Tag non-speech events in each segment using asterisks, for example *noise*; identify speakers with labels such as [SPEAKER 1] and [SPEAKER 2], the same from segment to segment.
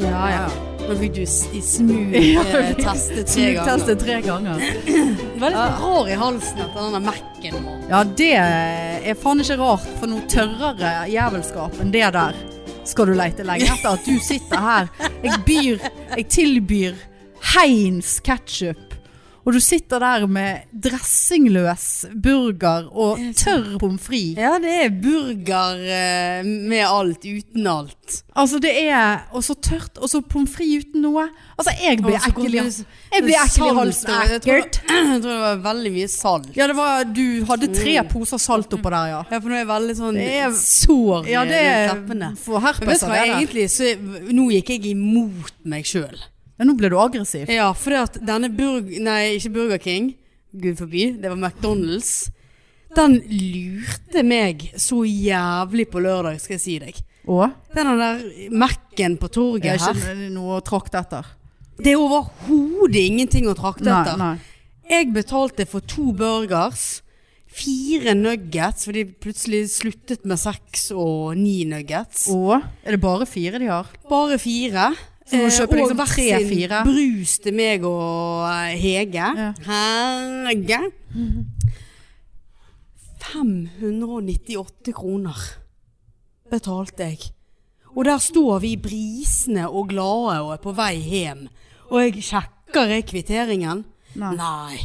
[SPEAKER 1] Ah,
[SPEAKER 2] *laughs* Da fikk du s- i
[SPEAKER 1] *laughs*
[SPEAKER 2] smug eh, testet tre ganger.
[SPEAKER 1] Smugtestet tre ganger.
[SPEAKER 2] Det var litt rår i halsen etter den der Mac-en vår.
[SPEAKER 1] Ja, det eh, er faen ikke rart, for noe tørrere jævelskap enn det der skal du leite lenge etter at du sitter her. Jeg byr, jeg tilbyr Heinz ketchup, og du sitter der med dressingløs burger og tørr pommes frites.
[SPEAKER 2] Ja, det er burger eh, med alt, uten alt.
[SPEAKER 1] Altså, det er og så tørt, og så pommes frites uten noe. Altså, jeg blir
[SPEAKER 2] Og så
[SPEAKER 1] ekkel
[SPEAKER 2] kom
[SPEAKER 1] i
[SPEAKER 2] det-
[SPEAKER 1] halsen. Jeg blir ekkel i halsen.
[SPEAKER 2] Salt, jeg *clears throat* tror-
[SPEAKER 1] Ekkelt.
[SPEAKER 2] Jeg tror det var veldig mye salt.
[SPEAKER 1] Ja, det var Du hadde tre poser salt oppå der, ja.
[SPEAKER 2] Ja, for nå er jeg veldig
[SPEAKER 1] Mm.
[SPEAKER 2] sånn
[SPEAKER 1] Det er-
[SPEAKER 2] sår
[SPEAKER 1] Ja, det
[SPEAKER 2] i
[SPEAKER 1] er
[SPEAKER 2] teppene.
[SPEAKER 1] for
[SPEAKER 2] Men vet
[SPEAKER 1] herpes av
[SPEAKER 2] du hva,
[SPEAKER 1] det der.
[SPEAKER 2] egentlig så Nå gikk jeg imot meg sjøl.
[SPEAKER 1] Ja, nå ble du aggressiv.
[SPEAKER 2] Ja, fordi at denne burg... Nei, ikke Burger King. Gud forby. Det var McDonald's. Den lurte meg så jævlig på lørdag, skal jeg si deg.
[SPEAKER 1] Og?
[SPEAKER 2] Den der Mac-en på
[SPEAKER 1] Jeg
[SPEAKER 2] torget
[SPEAKER 1] er
[SPEAKER 2] her.
[SPEAKER 1] ikke noe å trakte etter.
[SPEAKER 2] Det er overhodet ingenting å trakte
[SPEAKER 1] Nei,
[SPEAKER 2] etter.
[SPEAKER 1] nei.
[SPEAKER 2] Jeg betalte for to burgers, fire nuggets, fordi plutselig sluttet med seks og ni nuggets.
[SPEAKER 1] Og er det bare fire de har?
[SPEAKER 2] Bare fire.
[SPEAKER 1] Så må du
[SPEAKER 2] Eh,
[SPEAKER 1] kjøpe liksom
[SPEAKER 2] hver
[SPEAKER 1] tre,
[SPEAKER 2] sin
[SPEAKER 1] fire.
[SPEAKER 2] brus til meg og eh, Hege.
[SPEAKER 1] Ja.
[SPEAKER 2] Hege. 598 kroner betalte jeg. Og der står vi brisende og glade og er på vei hjem. Og jeg sjekker jeg kvitteringen.
[SPEAKER 1] Nei.
[SPEAKER 2] Nei.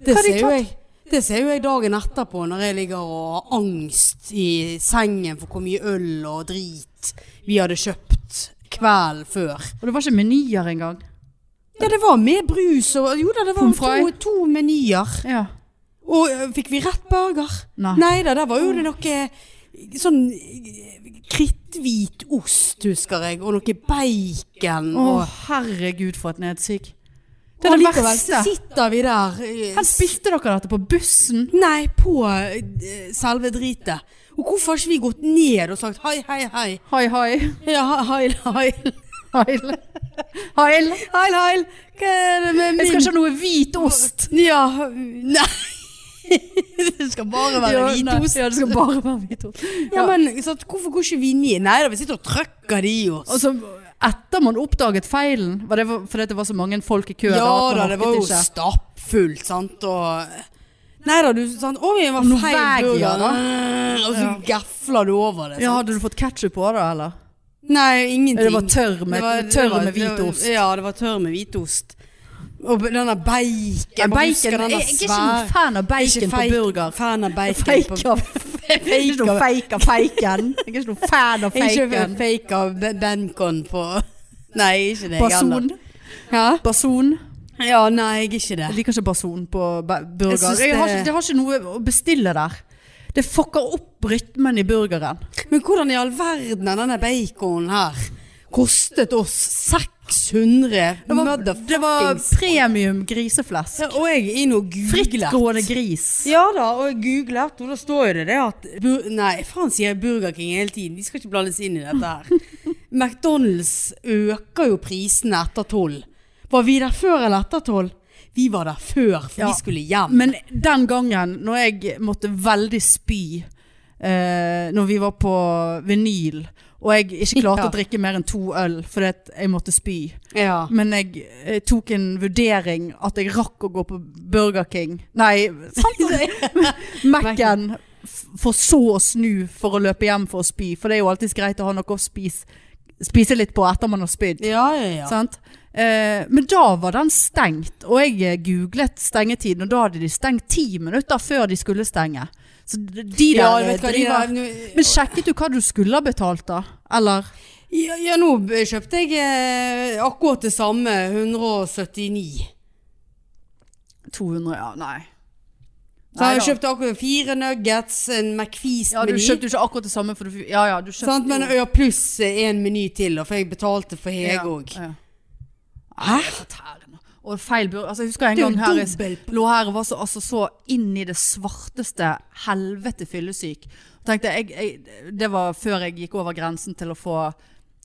[SPEAKER 2] Det
[SPEAKER 1] Hva har de
[SPEAKER 2] ser, jo
[SPEAKER 1] tatt?
[SPEAKER 2] jeg, det ser jo jeg dagen etterpå når jeg ligger og har angst i sengen for hvor mye øl og drit vi hadde kjøpt kvelden før.
[SPEAKER 1] Og det var ikke menyer engang.
[SPEAKER 2] Ja, det var med brus og Jo da, det var
[SPEAKER 1] Pommes
[SPEAKER 2] to,
[SPEAKER 1] frites?
[SPEAKER 2] to menyer.
[SPEAKER 1] Ja.
[SPEAKER 2] Og ø, fikk vi rett burger?
[SPEAKER 1] Nei.
[SPEAKER 2] da, der var jo det noe sånn ø, kritthvit ost, husker jeg, og noe bacon.
[SPEAKER 1] Å,
[SPEAKER 2] og-
[SPEAKER 1] herregud for et nedsyk.
[SPEAKER 2] og
[SPEAKER 1] Det er det
[SPEAKER 2] allikevel så
[SPEAKER 1] verste.
[SPEAKER 2] sitter vi der. ø,
[SPEAKER 1] Her spiste dere dette på bussen.
[SPEAKER 2] Nei, på eh, selve dritet. Og hvorfor har ikke vi gått ned og sagt hei, hei, hei?
[SPEAKER 1] Hei, hei.
[SPEAKER 2] Ja, heil, heil.
[SPEAKER 1] Heil. Heil.
[SPEAKER 2] Heil, heil. Hva er det med min
[SPEAKER 1] Jeg skal ikke ha noe hvit ost.
[SPEAKER 2] *laughs* Ja, nei. *laughs* det skal bare være
[SPEAKER 1] Ja, nei.
[SPEAKER 2] hvit ost.
[SPEAKER 1] Ja, det skal bare være hvit ost.
[SPEAKER 2] Ja, men sant, hvorfor går ikke vi ned? Nei da, vi sitter og trøkker de i oss.
[SPEAKER 1] Og så etter man oppdaget feilen, var det for- fordi det var så mange folk i kø
[SPEAKER 2] ja
[SPEAKER 1] at man
[SPEAKER 2] da, det
[SPEAKER 1] orket
[SPEAKER 2] var jo
[SPEAKER 1] ikke.
[SPEAKER 2] stappfullt, sant, og Nei da, du sant, Oi, det var
[SPEAKER 1] Noe
[SPEAKER 2] feil
[SPEAKER 1] veg, ja,
[SPEAKER 2] burger.
[SPEAKER 1] da.
[SPEAKER 2] Og så gafler du over det.
[SPEAKER 1] Ja,
[SPEAKER 2] Sant?
[SPEAKER 1] hadde du fått ketchup på det, eller?
[SPEAKER 2] Nei, ingenting.
[SPEAKER 1] Det var tørr med,
[SPEAKER 2] Det var- det
[SPEAKER 1] tørr
[SPEAKER 2] var-
[SPEAKER 1] med
[SPEAKER 2] det
[SPEAKER 1] hvit
[SPEAKER 2] var-
[SPEAKER 1] ost.
[SPEAKER 2] Ja, det var tørr med hvitost. Og den der bacon.
[SPEAKER 1] Ja,
[SPEAKER 2] Jeg bare husker
[SPEAKER 1] bacon,
[SPEAKER 2] den der
[SPEAKER 1] jeg, jeg er ikke
[SPEAKER 2] svære-
[SPEAKER 1] noen fan av
[SPEAKER 2] Ikke
[SPEAKER 1] bacon på
[SPEAKER 2] feik-
[SPEAKER 1] burger.
[SPEAKER 2] Fan av bacon
[SPEAKER 1] Feik
[SPEAKER 2] på
[SPEAKER 1] av *laughs* Jeg er ikke noen feik av
[SPEAKER 2] *laughs*
[SPEAKER 1] feiken. Jeg er ikke noen fan av
[SPEAKER 2] Jeg er Ikke
[SPEAKER 1] feiken.
[SPEAKER 2] fake av be- bacon på *laughs* Nei, ikke det. jeg
[SPEAKER 1] Bason.
[SPEAKER 2] heller. Ja?
[SPEAKER 1] Bason.
[SPEAKER 2] ja, nei, jeg er ikke det.
[SPEAKER 1] Jeg liker ikke bason på ba-
[SPEAKER 2] Jeg
[SPEAKER 1] burger.
[SPEAKER 2] synes
[SPEAKER 1] Jeg har
[SPEAKER 2] det-
[SPEAKER 1] ikke, det har ikke noe å bestille der. Det fucker opp rytmen i burgeren.
[SPEAKER 2] Men hvordan i all verden er denne baconen her kostet oss 600
[SPEAKER 1] Det var, det var
[SPEAKER 2] motherfuckings
[SPEAKER 1] premium griseflesk.
[SPEAKER 2] Ja, Og jeg er inne og googlet.
[SPEAKER 1] Frittgående gris.
[SPEAKER 2] Ja da, og jeg googlet, og da står jo det det at bur Nei, faen sier jeg Burger King hele tiden. De skal ikke blandes inn i dette
[SPEAKER 1] *laughs*
[SPEAKER 2] her. McDonald's øker jo prisene etter tolv. Var vi der før eller etter tolv? Vi var der før, for
[SPEAKER 1] Ja,
[SPEAKER 2] vi skulle hjem.
[SPEAKER 1] Men den gangen når jeg måtte veldig spy eh, Når vi var på vinyl Og jeg ikke klarte
[SPEAKER 2] Ja.
[SPEAKER 1] å drikke mer enn to øl Fordi at jeg måtte spy
[SPEAKER 2] ja.
[SPEAKER 1] Men jeg eh, tok en vurdering At jeg rakk å gå på Burger King Nei, sant? *laughs* Mac-en f- For så å snu for å løpe hjem for å spy For det er jo alltid greit å ha noe å spise Spise litt på etter man har spydd
[SPEAKER 2] ja, ja, ja.
[SPEAKER 1] Sant? Eh, men da var den stengt, og jeg eh, googlet stengetiden, og da hadde de stengt ti minutter før de skulle stenge. Så d- de der
[SPEAKER 2] Ja,
[SPEAKER 1] eh,
[SPEAKER 2] vet du hva, de
[SPEAKER 1] driver
[SPEAKER 2] der-
[SPEAKER 1] Men sjekket du hva du skulle ha betalt, da? Eller?
[SPEAKER 2] ja, ja, nå b- kjøpte jeg eh, akkurat det samme. 179.
[SPEAKER 1] 200, ja, nei.
[SPEAKER 2] Så jeg
[SPEAKER 1] Neida.
[SPEAKER 2] kjøpte akkurat fire nuggets, en
[SPEAKER 1] ja, du
[SPEAKER 2] McFeast-meny.
[SPEAKER 1] kjøpte jo ikke akkurat det samme, for du Ja ja, du kjøpte
[SPEAKER 2] sant? Men
[SPEAKER 1] jo
[SPEAKER 2] ja, pluss eh, en meny til, da, for jeg betalte for Hege
[SPEAKER 1] Ja,
[SPEAKER 2] òg.
[SPEAKER 1] ja.
[SPEAKER 2] Hæ?
[SPEAKER 1] Tærne. Og feil bur... Altså, jeg husker en
[SPEAKER 2] Det er
[SPEAKER 1] gang
[SPEAKER 2] jo
[SPEAKER 1] her jeg
[SPEAKER 2] dobbelt.
[SPEAKER 1] lå her og var så, altså, så inn i det svarteste helvete fyllesyk. Og tenkte, jeg, jeg, det var før jeg gikk over grensen til å få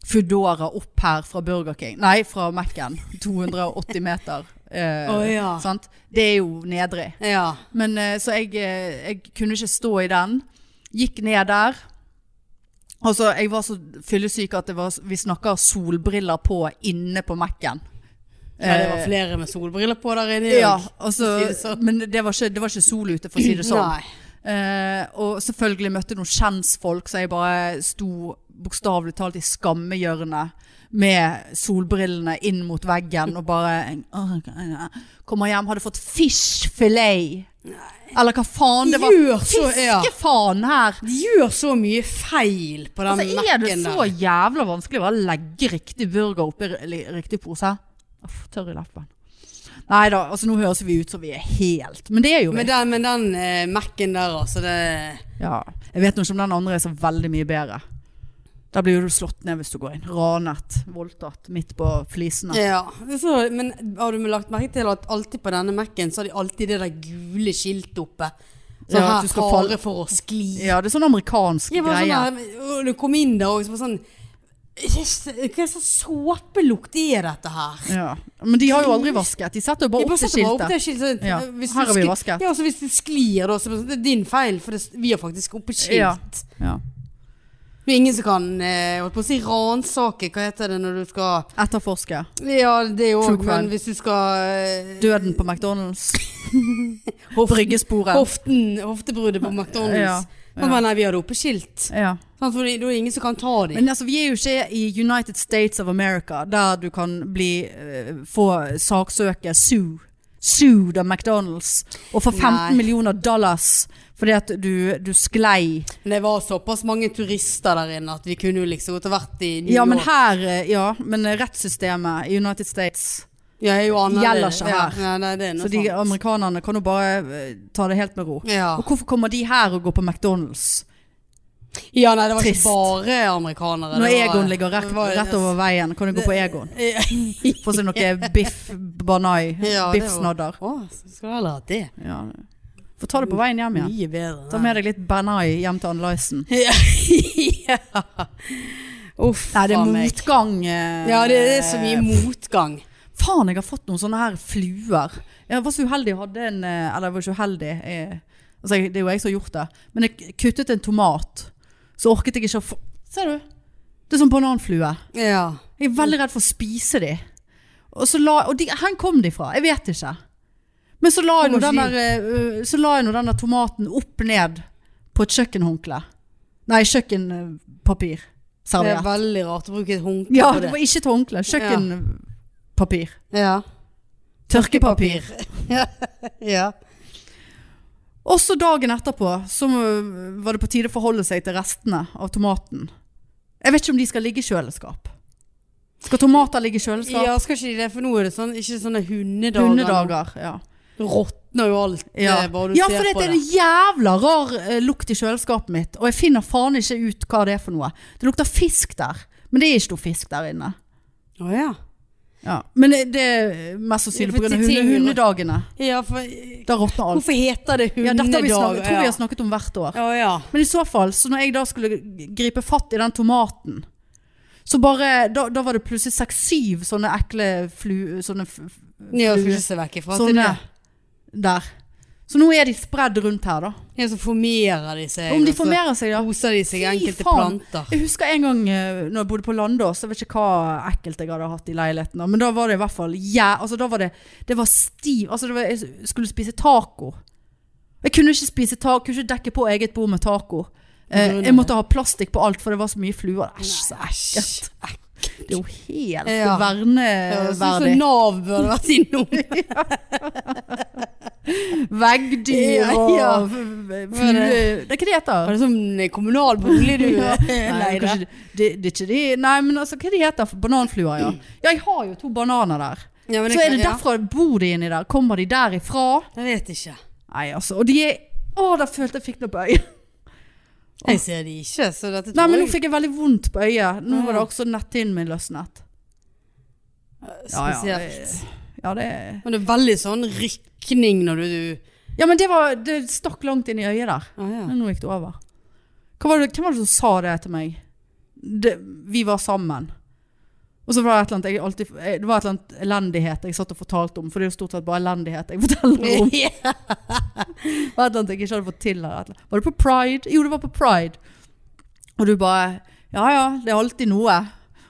[SPEAKER 1] Foodora opp her fra Burger King. Nei, fra Mac-en. 280 meter. Eh,
[SPEAKER 2] Å, ja.
[SPEAKER 1] sant? Det er jo nedrig.
[SPEAKER 2] Ja.
[SPEAKER 1] Men, eh, så jeg, eh, jeg kunne ikke stå i den. Gikk ned der. Altså, jeg var så fyllesyk at det var, vi snakker solbriller på inne på Mac-en.
[SPEAKER 2] Ja, det var flere med solbriller på der inne. i
[SPEAKER 1] Ja,
[SPEAKER 2] dag. Si det
[SPEAKER 1] altså,
[SPEAKER 2] sånn.
[SPEAKER 1] men det var, ikke, det var ikke sol ute, for å
[SPEAKER 2] *clears throat*
[SPEAKER 1] si det sånn.
[SPEAKER 2] Nei.
[SPEAKER 1] Eh, og selvfølgelig møtte noen kjensfolk, så jeg bare sto bokstavelig talt i skammehjørnet med solbrillene inn mot veggen og bare Kommer hjem, hadde fått fiskfilet! Eller hva faen det var.
[SPEAKER 2] Gjør så, ja.
[SPEAKER 1] Fiskefaen her!
[SPEAKER 2] De gjør så mye feil på den
[SPEAKER 1] Altså, er det
[SPEAKER 2] Mac-en
[SPEAKER 1] så
[SPEAKER 2] der.
[SPEAKER 1] jævla vanskelig å bare legge riktig burger oppi ri- li- riktig pose? Uff, tørr i leppen. Nei da, altså nå høres vi ut som vi er helt Men det er jo vi.
[SPEAKER 2] Men den, men den eh, Mac-en der, altså det
[SPEAKER 1] Ja. Jeg vet nå ikke om den andre er så veldig mye bedre. Da blir jo du slått ned hvis du går inn. Ranet, voldtatt, midt på flisene.
[SPEAKER 2] Ja. det er Så, men har du lagt merke til at alltid på denne Mac-en så har de alltid det der gule skiltet oppe?
[SPEAKER 1] Ja,
[SPEAKER 2] Så
[SPEAKER 1] at
[SPEAKER 2] her
[SPEAKER 1] du skal falle-
[SPEAKER 2] fare for å skli.
[SPEAKER 1] Ja, det er sånn amerikansk
[SPEAKER 2] Jeg var
[SPEAKER 1] greie.
[SPEAKER 2] sånn der, og du kom inn der og så var sånn Hva slags såpelukt er dette her?
[SPEAKER 1] ja. Men de har jo aldri vasket. De setter jo
[SPEAKER 2] Jeg
[SPEAKER 1] bare
[SPEAKER 2] bare
[SPEAKER 1] opp til
[SPEAKER 2] setter bare opp det
[SPEAKER 1] skiltet.
[SPEAKER 2] skiltet.
[SPEAKER 1] Ja,
[SPEAKER 2] Hvis du
[SPEAKER 1] her har vi
[SPEAKER 2] skli-
[SPEAKER 1] vasket.
[SPEAKER 2] Ja, så hvis du sklir da, så er det sånn, det er din feil, for det, vi har faktisk oppe skilt.
[SPEAKER 1] Ja. Ja.
[SPEAKER 2] Det er ingen som kan, eh, holdt på å si, ransake. Hva heter det når du skal
[SPEAKER 1] Etterforske.
[SPEAKER 2] Ja, det er jo
[SPEAKER 1] True crime.
[SPEAKER 2] men hvis du skal eh,
[SPEAKER 1] Døden på McDonald's. Bryggesporet.
[SPEAKER 2] Hoften, hoftebruddet på McDonald's.
[SPEAKER 1] Ja,
[SPEAKER 2] Men bare, nei, vi har det oppe skilt.
[SPEAKER 1] Ja.
[SPEAKER 2] Sant, for det, da er det ingen som kan ta dem.
[SPEAKER 1] Men altså, vi er jo ikke i United States of America, der du kan bli, eh, få saksøke Sue. Sued av McDonald's. Og få 15
[SPEAKER 2] Nei.
[SPEAKER 1] millioner dollars fordi at du, du sklei.
[SPEAKER 2] Men det var såpass mange turister der inne at vi kunne jo liksom godt ha vært i New
[SPEAKER 1] Ja, men
[SPEAKER 2] York.
[SPEAKER 1] her eh, Ja, men rettssystemet i United States
[SPEAKER 2] Ja, jeg er jo annerledes.
[SPEAKER 1] Gjelder ikke
[SPEAKER 2] ja,
[SPEAKER 1] her.
[SPEAKER 2] Nei, nei, det er
[SPEAKER 1] Så
[SPEAKER 2] noe
[SPEAKER 1] de
[SPEAKER 2] sant.
[SPEAKER 1] amerikanerne kan jo bare eh, ta det helt med ro.
[SPEAKER 2] ja.
[SPEAKER 1] Og hvorfor kommer de her og går på McDonald's?
[SPEAKER 2] ja, nei, det var
[SPEAKER 1] Trist.
[SPEAKER 2] ikke bare amerikanere.
[SPEAKER 1] Når
[SPEAKER 2] det var-
[SPEAKER 1] Egon ligger rett,
[SPEAKER 2] det var-
[SPEAKER 1] rett over veien, kan du gå på Egon.
[SPEAKER 2] Ja.
[SPEAKER 1] Få seg
[SPEAKER 2] *laughs*
[SPEAKER 1] noe biff banai.
[SPEAKER 2] Ja, det var-
[SPEAKER 1] Biffsnadder.
[SPEAKER 2] Å, så skal du heller ha det.
[SPEAKER 1] Ja. Få ta det på veien hjem igjen.
[SPEAKER 2] Mye bedre.
[SPEAKER 1] Ta
[SPEAKER 2] *laughs*
[SPEAKER 1] med deg litt Benai hjem til Ann-Lysen.
[SPEAKER 2] ja. Uff,
[SPEAKER 1] Nei, det er
[SPEAKER 2] faen meg.
[SPEAKER 1] motgang. eh.
[SPEAKER 2] Ja, det er så mye motgang.
[SPEAKER 1] Faen, jeg har fått noen sånne her fluer. Jeg var så uheldig, jeg hadde en eh, Eller jeg var ikke uheldig. Jeg, altså, jeg, det er jo jeg som har gjort det. Men jeg kuttet en tomat. Så orket jeg ikke å få Ser du? Det er sånn bananflue.
[SPEAKER 2] Ja.
[SPEAKER 1] Jeg er veldig redd for å spise de. Og, så la, og de, hvor kom de fra? Jeg vet ikke. Men så la jeg nå
[SPEAKER 2] Kommer
[SPEAKER 1] den
[SPEAKER 2] ikke
[SPEAKER 1] der, eh, så la jeg nå den der tomaten opp ned på et kjøkkenhåndkle. Nei, kjøkkenpapir.
[SPEAKER 2] Det er
[SPEAKER 1] Serviett.
[SPEAKER 2] veldig rart å bruke et håndkle
[SPEAKER 1] Ja,
[SPEAKER 2] på
[SPEAKER 1] det
[SPEAKER 2] det.
[SPEAKER 1] var ikke et håndkle. Kjøkkenpapir.
[SPEAKER 2] Ja.
[SPEAKER 1] Tørkepapir.
[SPEAKER 2] ja.
[SPEAKER 1] Også dagen etterpå så øh, var det på tide å forholde seg til restene av tomaten. Jeg vet ikke om de skal ligge i kjøleskap. Skal tomater ligge i kjøleskap?
[SPEAKER 2] Ja, skal ikke de det? For nå er det sånn, ikke sånne hundedager.
[SPEAKER 1] Hundedager. Ja.
[SPEAKER 2] Det råtner jo alt
[SPEAKER 1] Ja.
[SPEAKER 2] eh, bare du
[SPEAKER 1] ja,
[SPEAKER 2] ser
[SPEAKER 1] for det
[SPEAKER 2] på
[SPEAKER 1] er en jævla rar eh, lukt i kjøleskapet mitt, og jeg finner faen ikke ut hva det er for noe. Det lukter fisk der, men det er ikke noe fisk der inne.
[SPEAKER 2] Å ja.
[SPEAKER 1] Ja. Men eh, det er mest sannsynlig
[SPEAKER 2] Ja, for
[SPEAKER 1] pga.
[SPEAKER 2] ting-
[SPEAKER 1] Hunde, hundedagene.
[SPEAKER 2] ja for, eh,
[SPEAKER 1] Da råtner alt.
[SPEAKER 2] hvorfor heter det
[SPEAKER 1] Ja,
[SPEAKER 2] hundedager?
[SPEAKER 1] dette har vi snakket, tror vi
[SPEAKER 2] ja.
[SPEAKER 1] har snakket om hvert år.
[SPEAKER 2] Å ja.
[SPEAKER 1] Men i så fall, så når jeg da skulle gripe fatt i den tomaten, så bare, da, da var det plutselig seks-syv sånne ekle flu... Sånne, f- f-
[SPEAKER 2] Nå
[SPEAKER 1] flue-
[SPEAKER 2] flyr seg vekk ifra.
[SPEAKER 1] sånne der. Så nå er de spredd rundt her da.
[SPEAKER 2] Ja, så formerer de seg.
[SPEAKER 1] Om de
[SPEAKER 2] og så
[SPEAKER 1] formerer seg da.
[SPEAKER 2] Koser de seg i
[SPEAKER 1] Fy
[SPEAKER 2] enkelte
[SPEAKER 1] faen.
[SPEAKER 2] planter.
[SPEAKER 1] Jeg husker en gang eh, når jeg bodde på Landås, jeg vet ikke hva ekkelt jeg hadde hatt i leiligheten, da, men da var det i hvert fall ja, altså da var det, det var stiv, altså det var, jeg skulle spise taco. Jeg kunne ikke spise taco, kunne ikke dekke på eget bord med taco. Eh, jeg måtte ha plastikk på alt, for det var så mye fluer. Æsj, så ekkelt.
[SPEAKER 2] Æsj. Eh,
[SPEAKER 1] Det er jo helt
[SPEAKER 2] Ja. Høres ut som
[SPEAKER 1] verneverdig.
[SPEAKER 2] Nav burde vært *laughs* innom.
[SPEAKER 1] Veggdyr
[SPEAKER 2] Ja,
[SPEAKER 1] og
[SPEAKER 2] ja.
[SPEAKER 1] f- f- flue... Det er ikke det heter.
[SPEAKER 2] Var det sånn eh, kommunal bolig *laughs* du
[SPEAKER 1] Ja. Nei,
[SPEAKER 2] leide?
[SPEAKER 1] kanskje, det, det er ikke de Nei, men altså, hva de heter de? Bananfluer, ja. Ja, jeg har jo to bananer der.
[SPEAKER 2] Ja, men
[SPEAKER 1] Så er det
[SPEAKER 2] ja.
[SPEAKER 1] derfra bor de inni der? Kommer de derifra?
[SPEAKER 2] Jeg vet ikke.
[SPEAKER 1] Nei, altså. Og de er Å, da følte jeg fikk noe på øyet. *laughs*
[SPEAKER 2] Jeg ser de ikke, så dette
[SPEAKER 1] Nei,
[SPEAKER 2] tror
[SPEAKER 1] men nå
[SPEAKER 2] jeg
[SPEAKER 1] fikk jeg veldig vondt på øyet. Nå var det også netthinnen min løsnet. Ja, ja, det-
[SPEAKER 2] spesielt.
[SPEAKER 1] Ja, det
[SPEAKER 2] Men det er veldig sånn rykning når du, du
[SPEAKER 1] Ja, men det var Det stakk langt inn i øyet der.
[SPEAKER 2] ah, ja.
[SPEAKER 1] Men nå gikk det over. Hva var det, hvem var det som sa det til meg? Det, vi var sammen. Og så var det et eller annet, jeg alltid, jeg- det var et eller annet elendighet jeg satt og fortalte om, for det er jo stort sett bare elendighet jeg
[SPEAKER 2] *laughs*
[SPEAKER 1] forteller *laughs* om. Det var et eller annet jeg ikke hadde fått til. Eller et eller annet. Var det på Pride? Jo, det var på Pride. Og du bare Ja ja, det er alltid noe.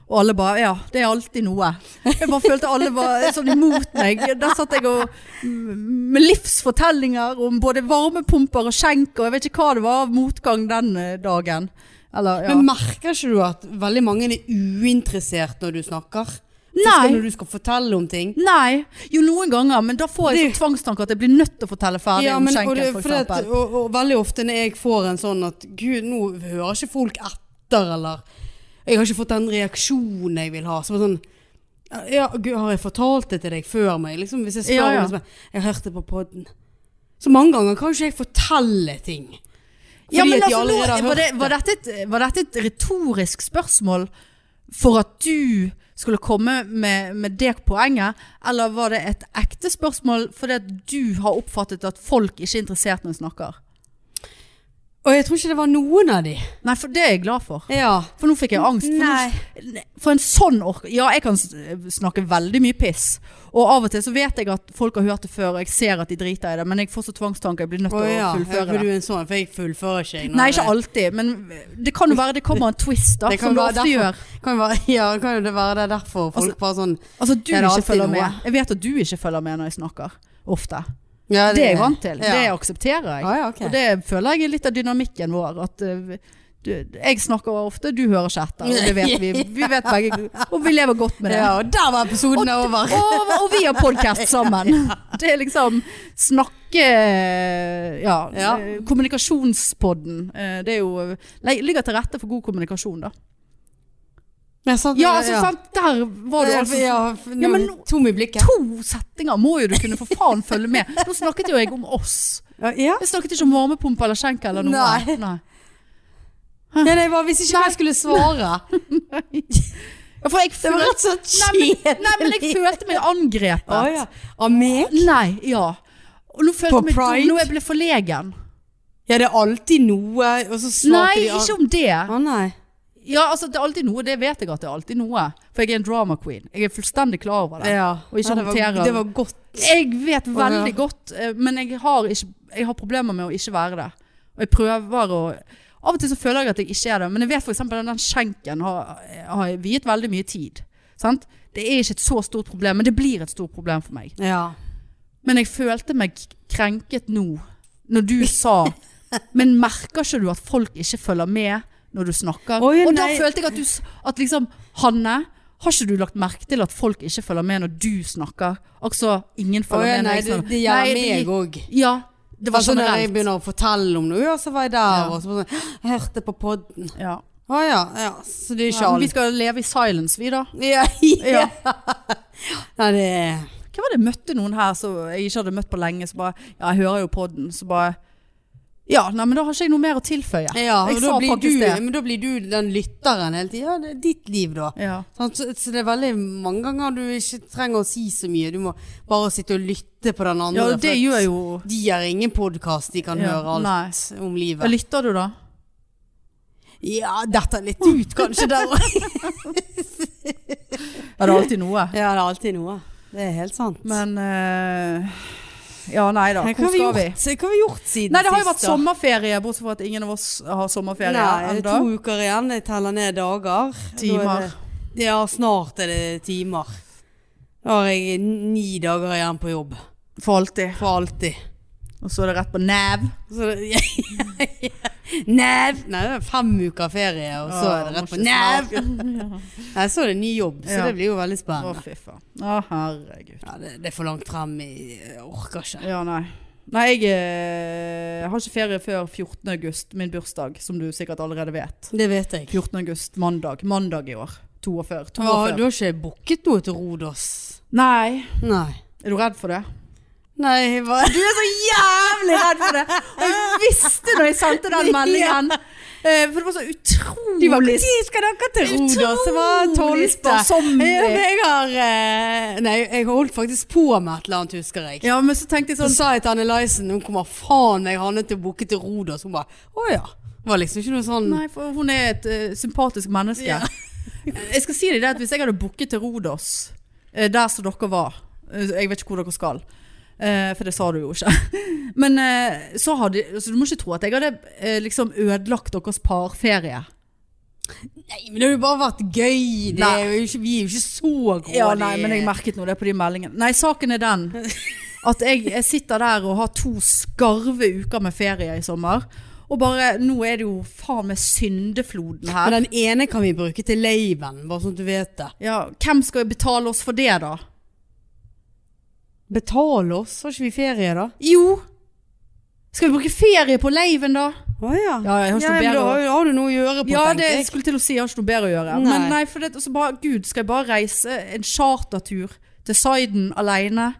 [SPEAKER 1] Og alle bare Ja, det er alltid noe. Jeg bare følte alle var sånn imot meg. Der satt jeg og med livsfortellinger om både varmepumper og skjenk og jeg vet ikke hva det var av motgang den eh, dagen. Eller, ja.
[SPEAKER 2] Men merker ikke du at veldig mange er uinteressert når du snakker? Først
[SPEAKER 1] Nei.
[SPEAKER 2] Når du skal fortelle om ting.
[SPEAKER 1] Nei. Jo, noen ganger, men da får jeg så tvangstanker at jeg blir nødt til å fortelle ferdig
[SPEAKER 2] Ja,
[SPEAKER 1] om
[SPEAKER 2] men, og,
[SPEAKER 1] skjenken,
[SPEAKER 2] det,
[SPEAKER 1] for
[SPEAKER 2] for det, at-
[SPEAKER 1] eksempel.
[SPEAKER 2] og, og veldig ofte når jeg får en sånn at Gud, nå hører ikke folk etter, eller Jeg har ikke fått den reaksjonen jeg vil ha. Så bare sånn ja, Gud, Har jeg fortalt det til deg før meg? Liksom, hvis jeg spør
[SPEAKER 1] Ja, ja.
[SPEAKER 2] om det, så bare, Jeg har hørt det på podden. Så mange ganger kan ikke jeg fortelle ting. Fordi
[SPEAKER 1] Ja, men
[SPEAKER 2] at
[SPEAKER 1] altså,
[SPEAKER 2] de
[SPEAKER 1] nå-
[SPEAKER 2] allerede har
[SPEAKER 1] var
[SPEAKER 2] hørt
[SPEAKER 1] det, var, dette et, var dette et retorisk spørsmål for at du skulle komme med, med det poenget, eller var det et ekte spørsmål fordi at du har oppfattet at folk ikke er interessert når de snakker?
[SPEAKER 2] Og jeg tror ikke det var noen av de.
[SPEAKER 1] Nei, for det er jeg glad for.
[SPEAKER 2] Ja.
[SPEAKER 1] For nå fikk jeg angst. For,
[SPEAKER 2] Nei.
[SPEAKER 1] nå, for en sånn ork... Ja, jeg kan s- snakke veldig mye piss. Og av og til så vet jeg at folk har hørt det før, og jeg ser at de driter i det, men jeg får så tvangstanker, jeg blir nødt til
[SPEAKER 2] Å ja,
[SPEAKER 1] å
[SPEAKER 2] ja,
[SPEAKER 1] fullføre
[SPEAKER 2] for
[SPEAKER 1] det.
[SPEAKER 2] du er en sånn, for jeg fullfører ikke. jeg når
[SPEAKER 1] Nei, ikke
[SPEAKER 2] jeg-
[SPEAKER 1] alltid, men det kan jo være det kommer en twist, da,
[SPEAKER 2] Det kan
[SPEAKER 1] som det
[SPEAKER 2] være
[SPEAKER 1] ofte
[SPEAKER 2] derfor-
[SPEAKER 1] gjør.
[SPEAKER 2] Kan jo være, *laughs* ja, kan jo det være det er derfor folk
[SPEAKER 1] Altså-
[SPEAKER 2] bare sånn
[SPEAKER 1] Altså, du
[SPEAKER 2] er det
[SPEAKER 1] ikke
[SPEAKER 2] alltid
[SPEAKER 1] følger
[SPEAKER 2] noe?
[SPEAKER 1] med. Jeg vet at du ikke følger med når jeg snakker. Ofte.
[SPEAKER 2] ja,
[SPEAKER 1] Det er jeg vant til.
[SPEAKER 2] Ja.
[SPEAKER 1] Det aksepterer jeg.
[SPEAKER 2] Ah, ja, ok.
[SPEAKER 1] Og det føler jeg er litt av dynamikken vår. At eh, du, jeg snakker ofte, du hører ikke etter. Og det vet
[SPEAKER 2] *laughs*
[SPEAKER 1] vi. Vi vet begge Og vi lever godt med det.
[SPEAKER 2] Ja, og der var episoden over.
[SPEAKER 1] Og, og vi har
[SPEAKER 2] *laughs*
[SPEAKER 1] podkast sammen. Det er liksom snakke... Ja,
[SPEAKER 2] Ja.
[SPEAKER 1] eh, kommunikasjonspodden. Eh, Det er jo le- Ligger til rette for god kommunikasjon, da.
[SPEAKER 2] Jeg satt-
[SPEAKER 1] Ja, altså sant, der var du
[SPEAKER 2] Ja,
[SPEAKER 1] altså
[SPEAKER 2] ja,
[SPEAKER 1] Ja, men
[SPEAKER 2] nå- tom i blikket.
[SPEAKER 1] To setninger må jo du kunne for faen følge med. Nå snakket jo jeg om oss.
[SPEAKER 2] Ja, ja.
[SPEAKER 1] Jeg snakket ikke om varmepumpe eller skjenk eller noe.
[SPEAKER 2] Nei. Nei, det var hvis ikke jeg skulle
[SPEAKER 1] *laughs*
[SPEAKER 2] svare.
[SPEAKER 1] Ja, for jeg
[SPEAKER 2] Det var
[SPEAKER 1] følte,
[SPEAKER 2] rett og slett
[SPEAKER 1] nei, men,
[SPEAKER 2] kjedelig.
[SPEAKER 1] nei, men jeg følte meg angrepet.
[SPEAKER 2] Å ja. Av meg?
[SPEAKER 1] Nei, ja. Og nå følte
[SPEAKER 2] På
[SPEAKER 1] jeg meg
[SPEAKER 2] Pride?
[SPEAKER 1] dum. Nå jeg ble forlegen.
[SPEAKER 2] Ja, det er alltid noe, og så svarte
[SPEAKER 1] Nei,
[SPEAKER 2] de
[SPEAKER 1] ikke om det.
[SPEAKER 2] Å nei.
[SPEAKER 1] Ja, altså, det er alltid noe. Det vet jeg at det er alltid noe. For jeg er en drama queen. Jeg er fullstendig klar over det.
[SPEAKER 2] Ja.
[SPEAKER 1] Og ikke
[SPEAKER 2] ja, det,
[SPEAKER 1] håndtere-
[SPEAKER 2] var, det var godt.
[SPEAKER 1] Jeg vet veldig
[SPEAKER 2] ja.
[SPEAKER 1] godt, eh, men jeg har, ikke, jeg har problemer med å ikke være det. Og jeg prøver å Av og til så føler jeg at jeg ikke er det, men jeg vet f.eks. at den skjenken har, har jeg viet veldig mye tid. Sant? Det er ikke et så stort problem, men det blir et stort problem for meg.
[SPEAKER 2] Ja.
[SPEAKER 1] Men jeg følte meg krenket nå, når du sa Men merker ikke du at folk ikke følger med når du snakker?
[SPEAKER 2] Å, ja,
[SPEAKER 1] og da
[SPEAKER 2] nei.
[SPEAKER 1] følte jeg at du s- at liksom Hanne, har ikke du lagt merke til at folk ikke følger med når du snakker? Altså, ingen
[SPEAKER 2] Å
[SPEAKER 1] følger
[SPEAKER 2] ja,
[SPEAKER 1] med når
[SPEAKER 2] nei,
[SPEAKER 1] jeg
[SPEAKER 2] det,
[SPEAKER 1] snakker.
[SPEAKER 2] det gjør
[SPEAKER 1] Nei, det
[SPEAKER 2] meg
[SPEAKER 1] gikk-
[SPEAKER 2] òg.
[SPEAKER 1] Ja, det var
[SPEAKER 2] Altså, når jeg
[SPEAKER 1] generelt.
[SPEAKER 2] begynner å fortelle om noe, ja, så var jeg der,
[SPEAKER 1] Ja.
[SPEAKER 2] og så bare sånn Jeg hørte på podden.
[SPEAKER 1] Ja.
[SPEAKER 2] Å ja, ja. Så det er ikke
[SPEAKER 1] Ja, men vi
[SPEAKER 2] alle.
[SPEAKER 1] skal leve i silence, vi da.
[SPEAKER 2] Ja, ja. Nei, det er
[SPEAKER 1] Hva var det jeg møtte noen her som jeg ikke hadde møtt på lenge, så bare Ja, jeg hører jo podden, så bare Ja, nei, men da har ikke jeg noe mer å tilføye.
[SPEAKER 2] Ja,
[SPEAKER 1] jeg
[SPEAKER 2] og da blir, du, men da blir du den lytteren hele tida. Ja, det er ditt liv, da.
[SPEAKER 1] Ja.
[SPEAKER 2] Sant, Så, så det er veldig mange ganger du ikke trenger å si så mye. Du må bare sitte og lytte på den andre.
[SPEAKER 1] ja, det
[SPEAKER 2] for
[SPEAKER 1] gjør jo
[SPEAKER 2] De har ingen podkast de kan
[SPEAKER 1] Ja,
[SPEAKER 2] høre alt om
[SPEAKER 1] Ja,
[SPEAKER 2] livet.
[SPEAKER 1] lytter du da?
[SPEAKER 2] Ja, dette er litt ut, kanskje. Der. også.
[SPEAKER 1] Ja, det er alltid
[SPEAKER 2] *laughs*
[SPEAKER 1] noe.
[SPEAKER 2] ja, det er alltid noe. Det er helt sant.
[SPEAKER 1] Men eh, Ja, nei da.
[SPEAKER 2] Nei,
[SPEAKER 1] Hvor
[SPEAKER 2] vi
[SPEAKER 1] skal vi?
[SPEAKER 2] gjort? Hva har vi gjort siden
[SPEAKER 1] Nei, det har jo vært
[SPEAKER 2] sist, da?
[SPEAKER 1] sommerferie, bortsett fra at ingen av oss har sommerferie
[SPEAKER 2] Nei, det
[SPEAKER 1] ennå.
[SPEAKER 2] er to uker igjen. Jeg teller ned dager. Da er
[SPEAKER 1] Timer.
[SPEAKER 2] det- Ja, snart er det timer. Da har jeg ni dager igjen på jobb.
[SPEAKER 1] For alltid.
[SPEAKER 2] For alltid.
[SPEAKER 1] Og så er det rett på nev.
[SPEAKER 2] Så det, *laughs* Nev! Nei, det er fem uker ferie, og så er det rett på nev!
[SPEAKER 1] nev!
[SPEAKER 2] *laughs* Nei, så er det ny jobb, så
[SPEAKER 1] Ja.
[SPEAKER 2] det blir jo veldig
[SPEAKER 1] Å,
[SPEAKER 2] spennende.
[SPEAKER 1] fy faen. Å, herregud.
[SPEAKER 2] Ja, det, det er for langt frem i Jeg orker ikke.
[SPEAKER 1] Ja, nei. Nei, jeg eh, har ikke ferie før 14. august, min bursdag, som du sikkert allerede vet.
[SPEAKER 2] Det vet jeg.
[SPEAKER 1] 14. august, mandag. Mandag i år. 42.
[SPEAKER 2] Du har, du har ikke booket noe til Rodos?
[SPEAKER 1] Nei.
[SPEAKER 2] Nei.
[SPEAKER 1] Er du redd for det?
[SPEAKER 2] Nei, hva?
[SPEAKER 1] Du er så jævlig redd for det! Og jeg visste når jeg sendte den meldingen. eh, For det var så utrolig
[SPEAKER 2] De var Når skal dere til Rodos? Det var
[SPEAKER 1] Utrolig
[SPEAKER 2] 12.
[SPEAKER 1] sparsommelig.
[SPEAKER 2] *laughs* Ja, men jeg har eh, Nei, jeg holdt faktisk på med et eller annet, husker jeg.
[SPEAKER 1] Ja, men så tenkte jeg
[SPEAKER 2] Så
[SPEAKER 1] sånn
[SPEAKER 2] sa jeg til Anne Lysen Hun kommer faen meg Hanne til å booke til Rodos. Hun bare Å ja. Det var liksom ikke noe sånn
[SPEAKER 1] Nei, for hun er et eh, sympatisk menneske.
[SPEAKER 2] Ja.
[SPEAKER 1] jeg skal si deg det at hvis jeg hadde booket til Rodos, eh, der som dere var eh, Jeg vet ikke hvor dere skal, eh, for det sa du jo ikke. *laughs* Men eh, så hadde Så du må ikke tro at jeg hadde eh, liksom ødelagt deres parferie.
[SPEAKER 2] Nei, men det har jo bare vært gøy. Det
[SPEAKER 1] Nei.
[SPEAKER 2] er jo ikke, vi er jo ikke så gode.
[SPEAKER 1] Ja, nei, men jeg merket nå det på de meldingene. Nei, saken er
[SPEAKER 2] *laughs*
[SPEAKER 1] den at jeg, jeg sitter der og har to skarve uker med ferie i sommer. Og bare, nå er det jo faen meg syndefloden her.
[SPEAKER 2] Men den ene kan vi bruke til laven, bare sånn at du vet det.
[SPEAKER 1] Ja, hvem skal betale oss for det da?
[SPEAKER 2] Betal oss, har ikke vi ferie da?
[SPEAKER 1] Jo! Skal vi bruke ferie på leiven da?
[SPEAKER 2] Å ja.
[SPEAKER 1] Ja, jeg har ikke noe
[SPEAKER 2] men
[SPEAKER 1] bedre
[SPEAKER 2] da har jo- har du noe å gjøre på,
[SPEAKER 1] Ja, det
[SPEAKER 2] tenker jeg.
[SPEAKER 1] skulle til å si, jeg har ikke noe bedre å gjøre.
[SPEAKER 2] Nei.
[SPEAKER 1] Men nei, for det, og så bare, gud, skal jeg bare reise en chartertur til Syden alene?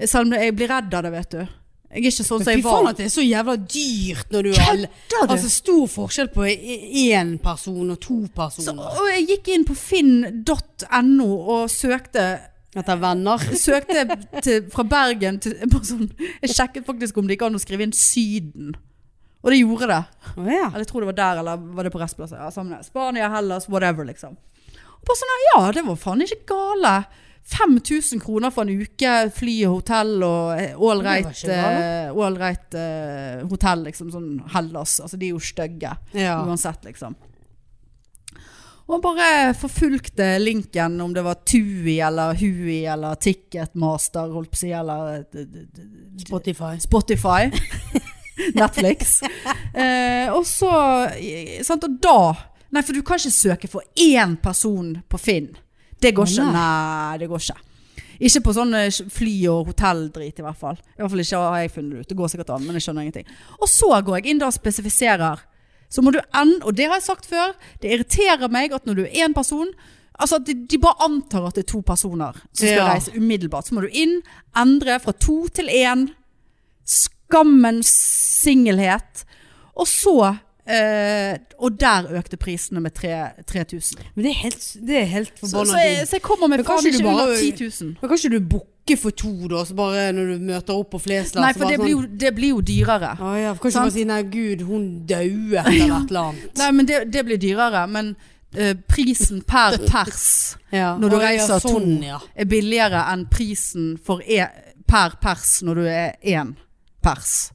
[SPEAKER 1] Selv om det- jeg blir redd av det, vet du. Jeg er ikke sånn som
[SPEAKER 2] Fy
[SPEAKER 1] jeg
[SPEAKER 2] faen
[SPEAKER 1] var.
[SPEAKER 2] at det er så jævla dyrt når du er alle-
[SPEAKER 1] Kødder du?
[SPEAKER 2] Altså stor forskjell på én person og to
[SPEAKER 1] Så,
[SPEAKER 2] personer.
[SPEAKER 1] og jeg gikk inn på finn.no og søkte
[SPEAKER 2] Etter venner.
[SPEAKER 1] søkte til, fra Bergen til bare sånn, Jeg sjekket faktisk om det gikk an å skrive inn Syden. Og det gjorde det.
[SPEAKER 2] Å ja.
[SPEAKER 1] Eller jeg tror det var der, eller var det på restplasser? Ja, samme det. Spania, Hellas, whatever, liksom. Og bare sånn, ja, det var faen ikke gale. 5000 kroner for en uke, fly og hotell og eh, all
[SPEAKER 2] Det var
[SPEAKER 1] right,
[SPEAKER 2] ikke gale.
[SPEAKER 1] eh, all right eh, hotell, liksom. Sånn Hellas. Altså, de er jo stygge.
[SPEAKER 2] Ja.
[SPEAKER 1] Uansett, liksom. Og han bare forfulgte linken, om det var Tui eller Hui eller Ticketmaster, holdt på å si, eller eh, d- d- d-
[SPEAKER 2] Spotify.
[SPEAKER 1] Spotify,
[SPEAKER 2] *laughs*
[SPEAKER 1] Netflix. Eh, og så eh, sant, Og da Nei, for du kan ikke søke for én person på Finn. Det går
[SPEAKER 2] Å,
[SPEAKER 1] ikke.
[SPEAKER 2] nei.
[SPEAKER 1] Nei, det går ikke. Ikke på sånn eh, fly- og hotelldrit, i hvert fall. I hvert fall ikke har jeg funnet det ut. Det går sikkert an, men jeg skjønner ingenting. Og så går jeg inn da og spesifiserer. Så må du enn, og det har jeg sagt før, det irriterer meg at når du er én person Altså at de, de bare antar at det er to personer som skal
[SPEAKER 2] Ja.
[SPEAKER 1] reise umiddelbart. Så må du inn, endre fra to til én skammens singelhet. Og så eh, Og der økte prisene med tre- 3000.
[SPEAKER 2] Men det er helt, det er helt
[SPEAKER 1] Så,
[SPEAKER 2] forbanna
[SPEAKER 1] så, jeg,
[SPEAKER 2] dyrt.
[SPEAKER 1] så jeg kommer med
[SPEAKER 2] Men
[SPEAKER 1] faen
[SPEAKER 2] kanskje du
[SPEAKER 1] ikke
[SPEAKER 2] bare-
[SPEAKER 1] under 10 000.
[SPEAKER 2] Men kan ikke du booke for to, da? Så bare når du møter opp på Flesland
[SPEAKER 1] Nei,
[SPEAKER 2] så
[SPEAKER 1] for
[SPEAKER 2] bare sånn-
[SPEAKER 1] det blir jo, det blir jo dyrere.
[SPEAKER 2] Å ja, for kanskje
[SPEAKER 1] Sant?
[SPEAKER 2] bare si 'nei, gud, hun daue' eller et eller annet.
[SPEAKER 1] Nei, men det, det blir dyrere. Men eh, prisen *laughs* per pers
[SPEAKER 2] Ja.
[SPEAKER 1] Når du
[SPEAKER 2] Å, ja,
[SPEAKER 1] reiser to.
[SPEAKER 2] sånn, ja.
[SPEAKER 1] er billigere enn prisen for e per pers når du er én pers.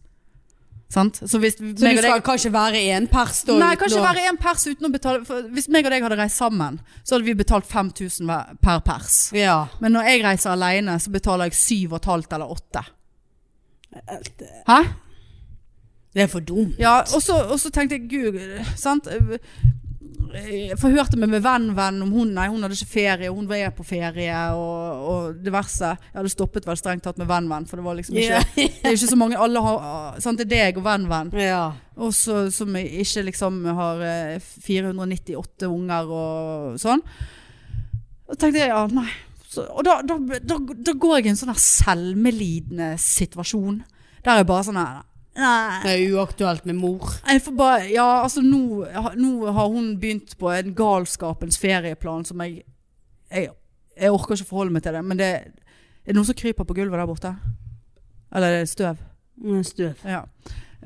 [SPEAKER 1] Sant? Så hvis
[SPEAKER 2] Så du skal kanskje være en pers da?
[SPEAKER 1] Nei,
[SPEAKER 2] uten
[SPEAKER 1] kanskje
[SPEAKER 2] å-
[SPEAKER 1] være en pers uten å betale for Hvis meg og deg hadde reist sammen, så hadde vi betalt 5000 hver- per pers.
[SPEAKER 2] Ja.
[SPEAKER 1] Men når jeg reiser alene, så betaler jeg 7,5 eller 8. Hæ?
[SPEAKER 2] Det er for dumt.
[SPEAKER 1] Ja, og så, og så tenkte jeg Gud, sant? Jeg forhørte meg med venn-venn om hun Nei, hun hadde ikke ferie, hun var på ferie og, og diverse. Jeg hadde stoppet vel strengt tatt med venn-venn, for det var liksom ikke Det er ikke så mange alle har sant? Det er deg og venn-venn.
[SPEAKER 2] ja.
[SPEAKER 1] Og så, som ikke liksom har eh, 498 unger og sånn. Og tenkte jeg, ja, nei. Så, og da, da, da, da går jeg i en sånn her selvmelidende situasjon. Der er jeg bare sånn her, nei.
[SPEAKER 2] Det er uaktuelt med mor.
[SPEAKER 1] Jeg får bare, ja, altså nå, nå har hun begynt på en galskapens ferieplan som jeg, jeg, jeg orker ikke forholde meg til det. Men det er det noen som kryper på gulvet der borte? Eller er det støv?
[SPEAKER 2] Støv.
[SPEAKER 1] Ja.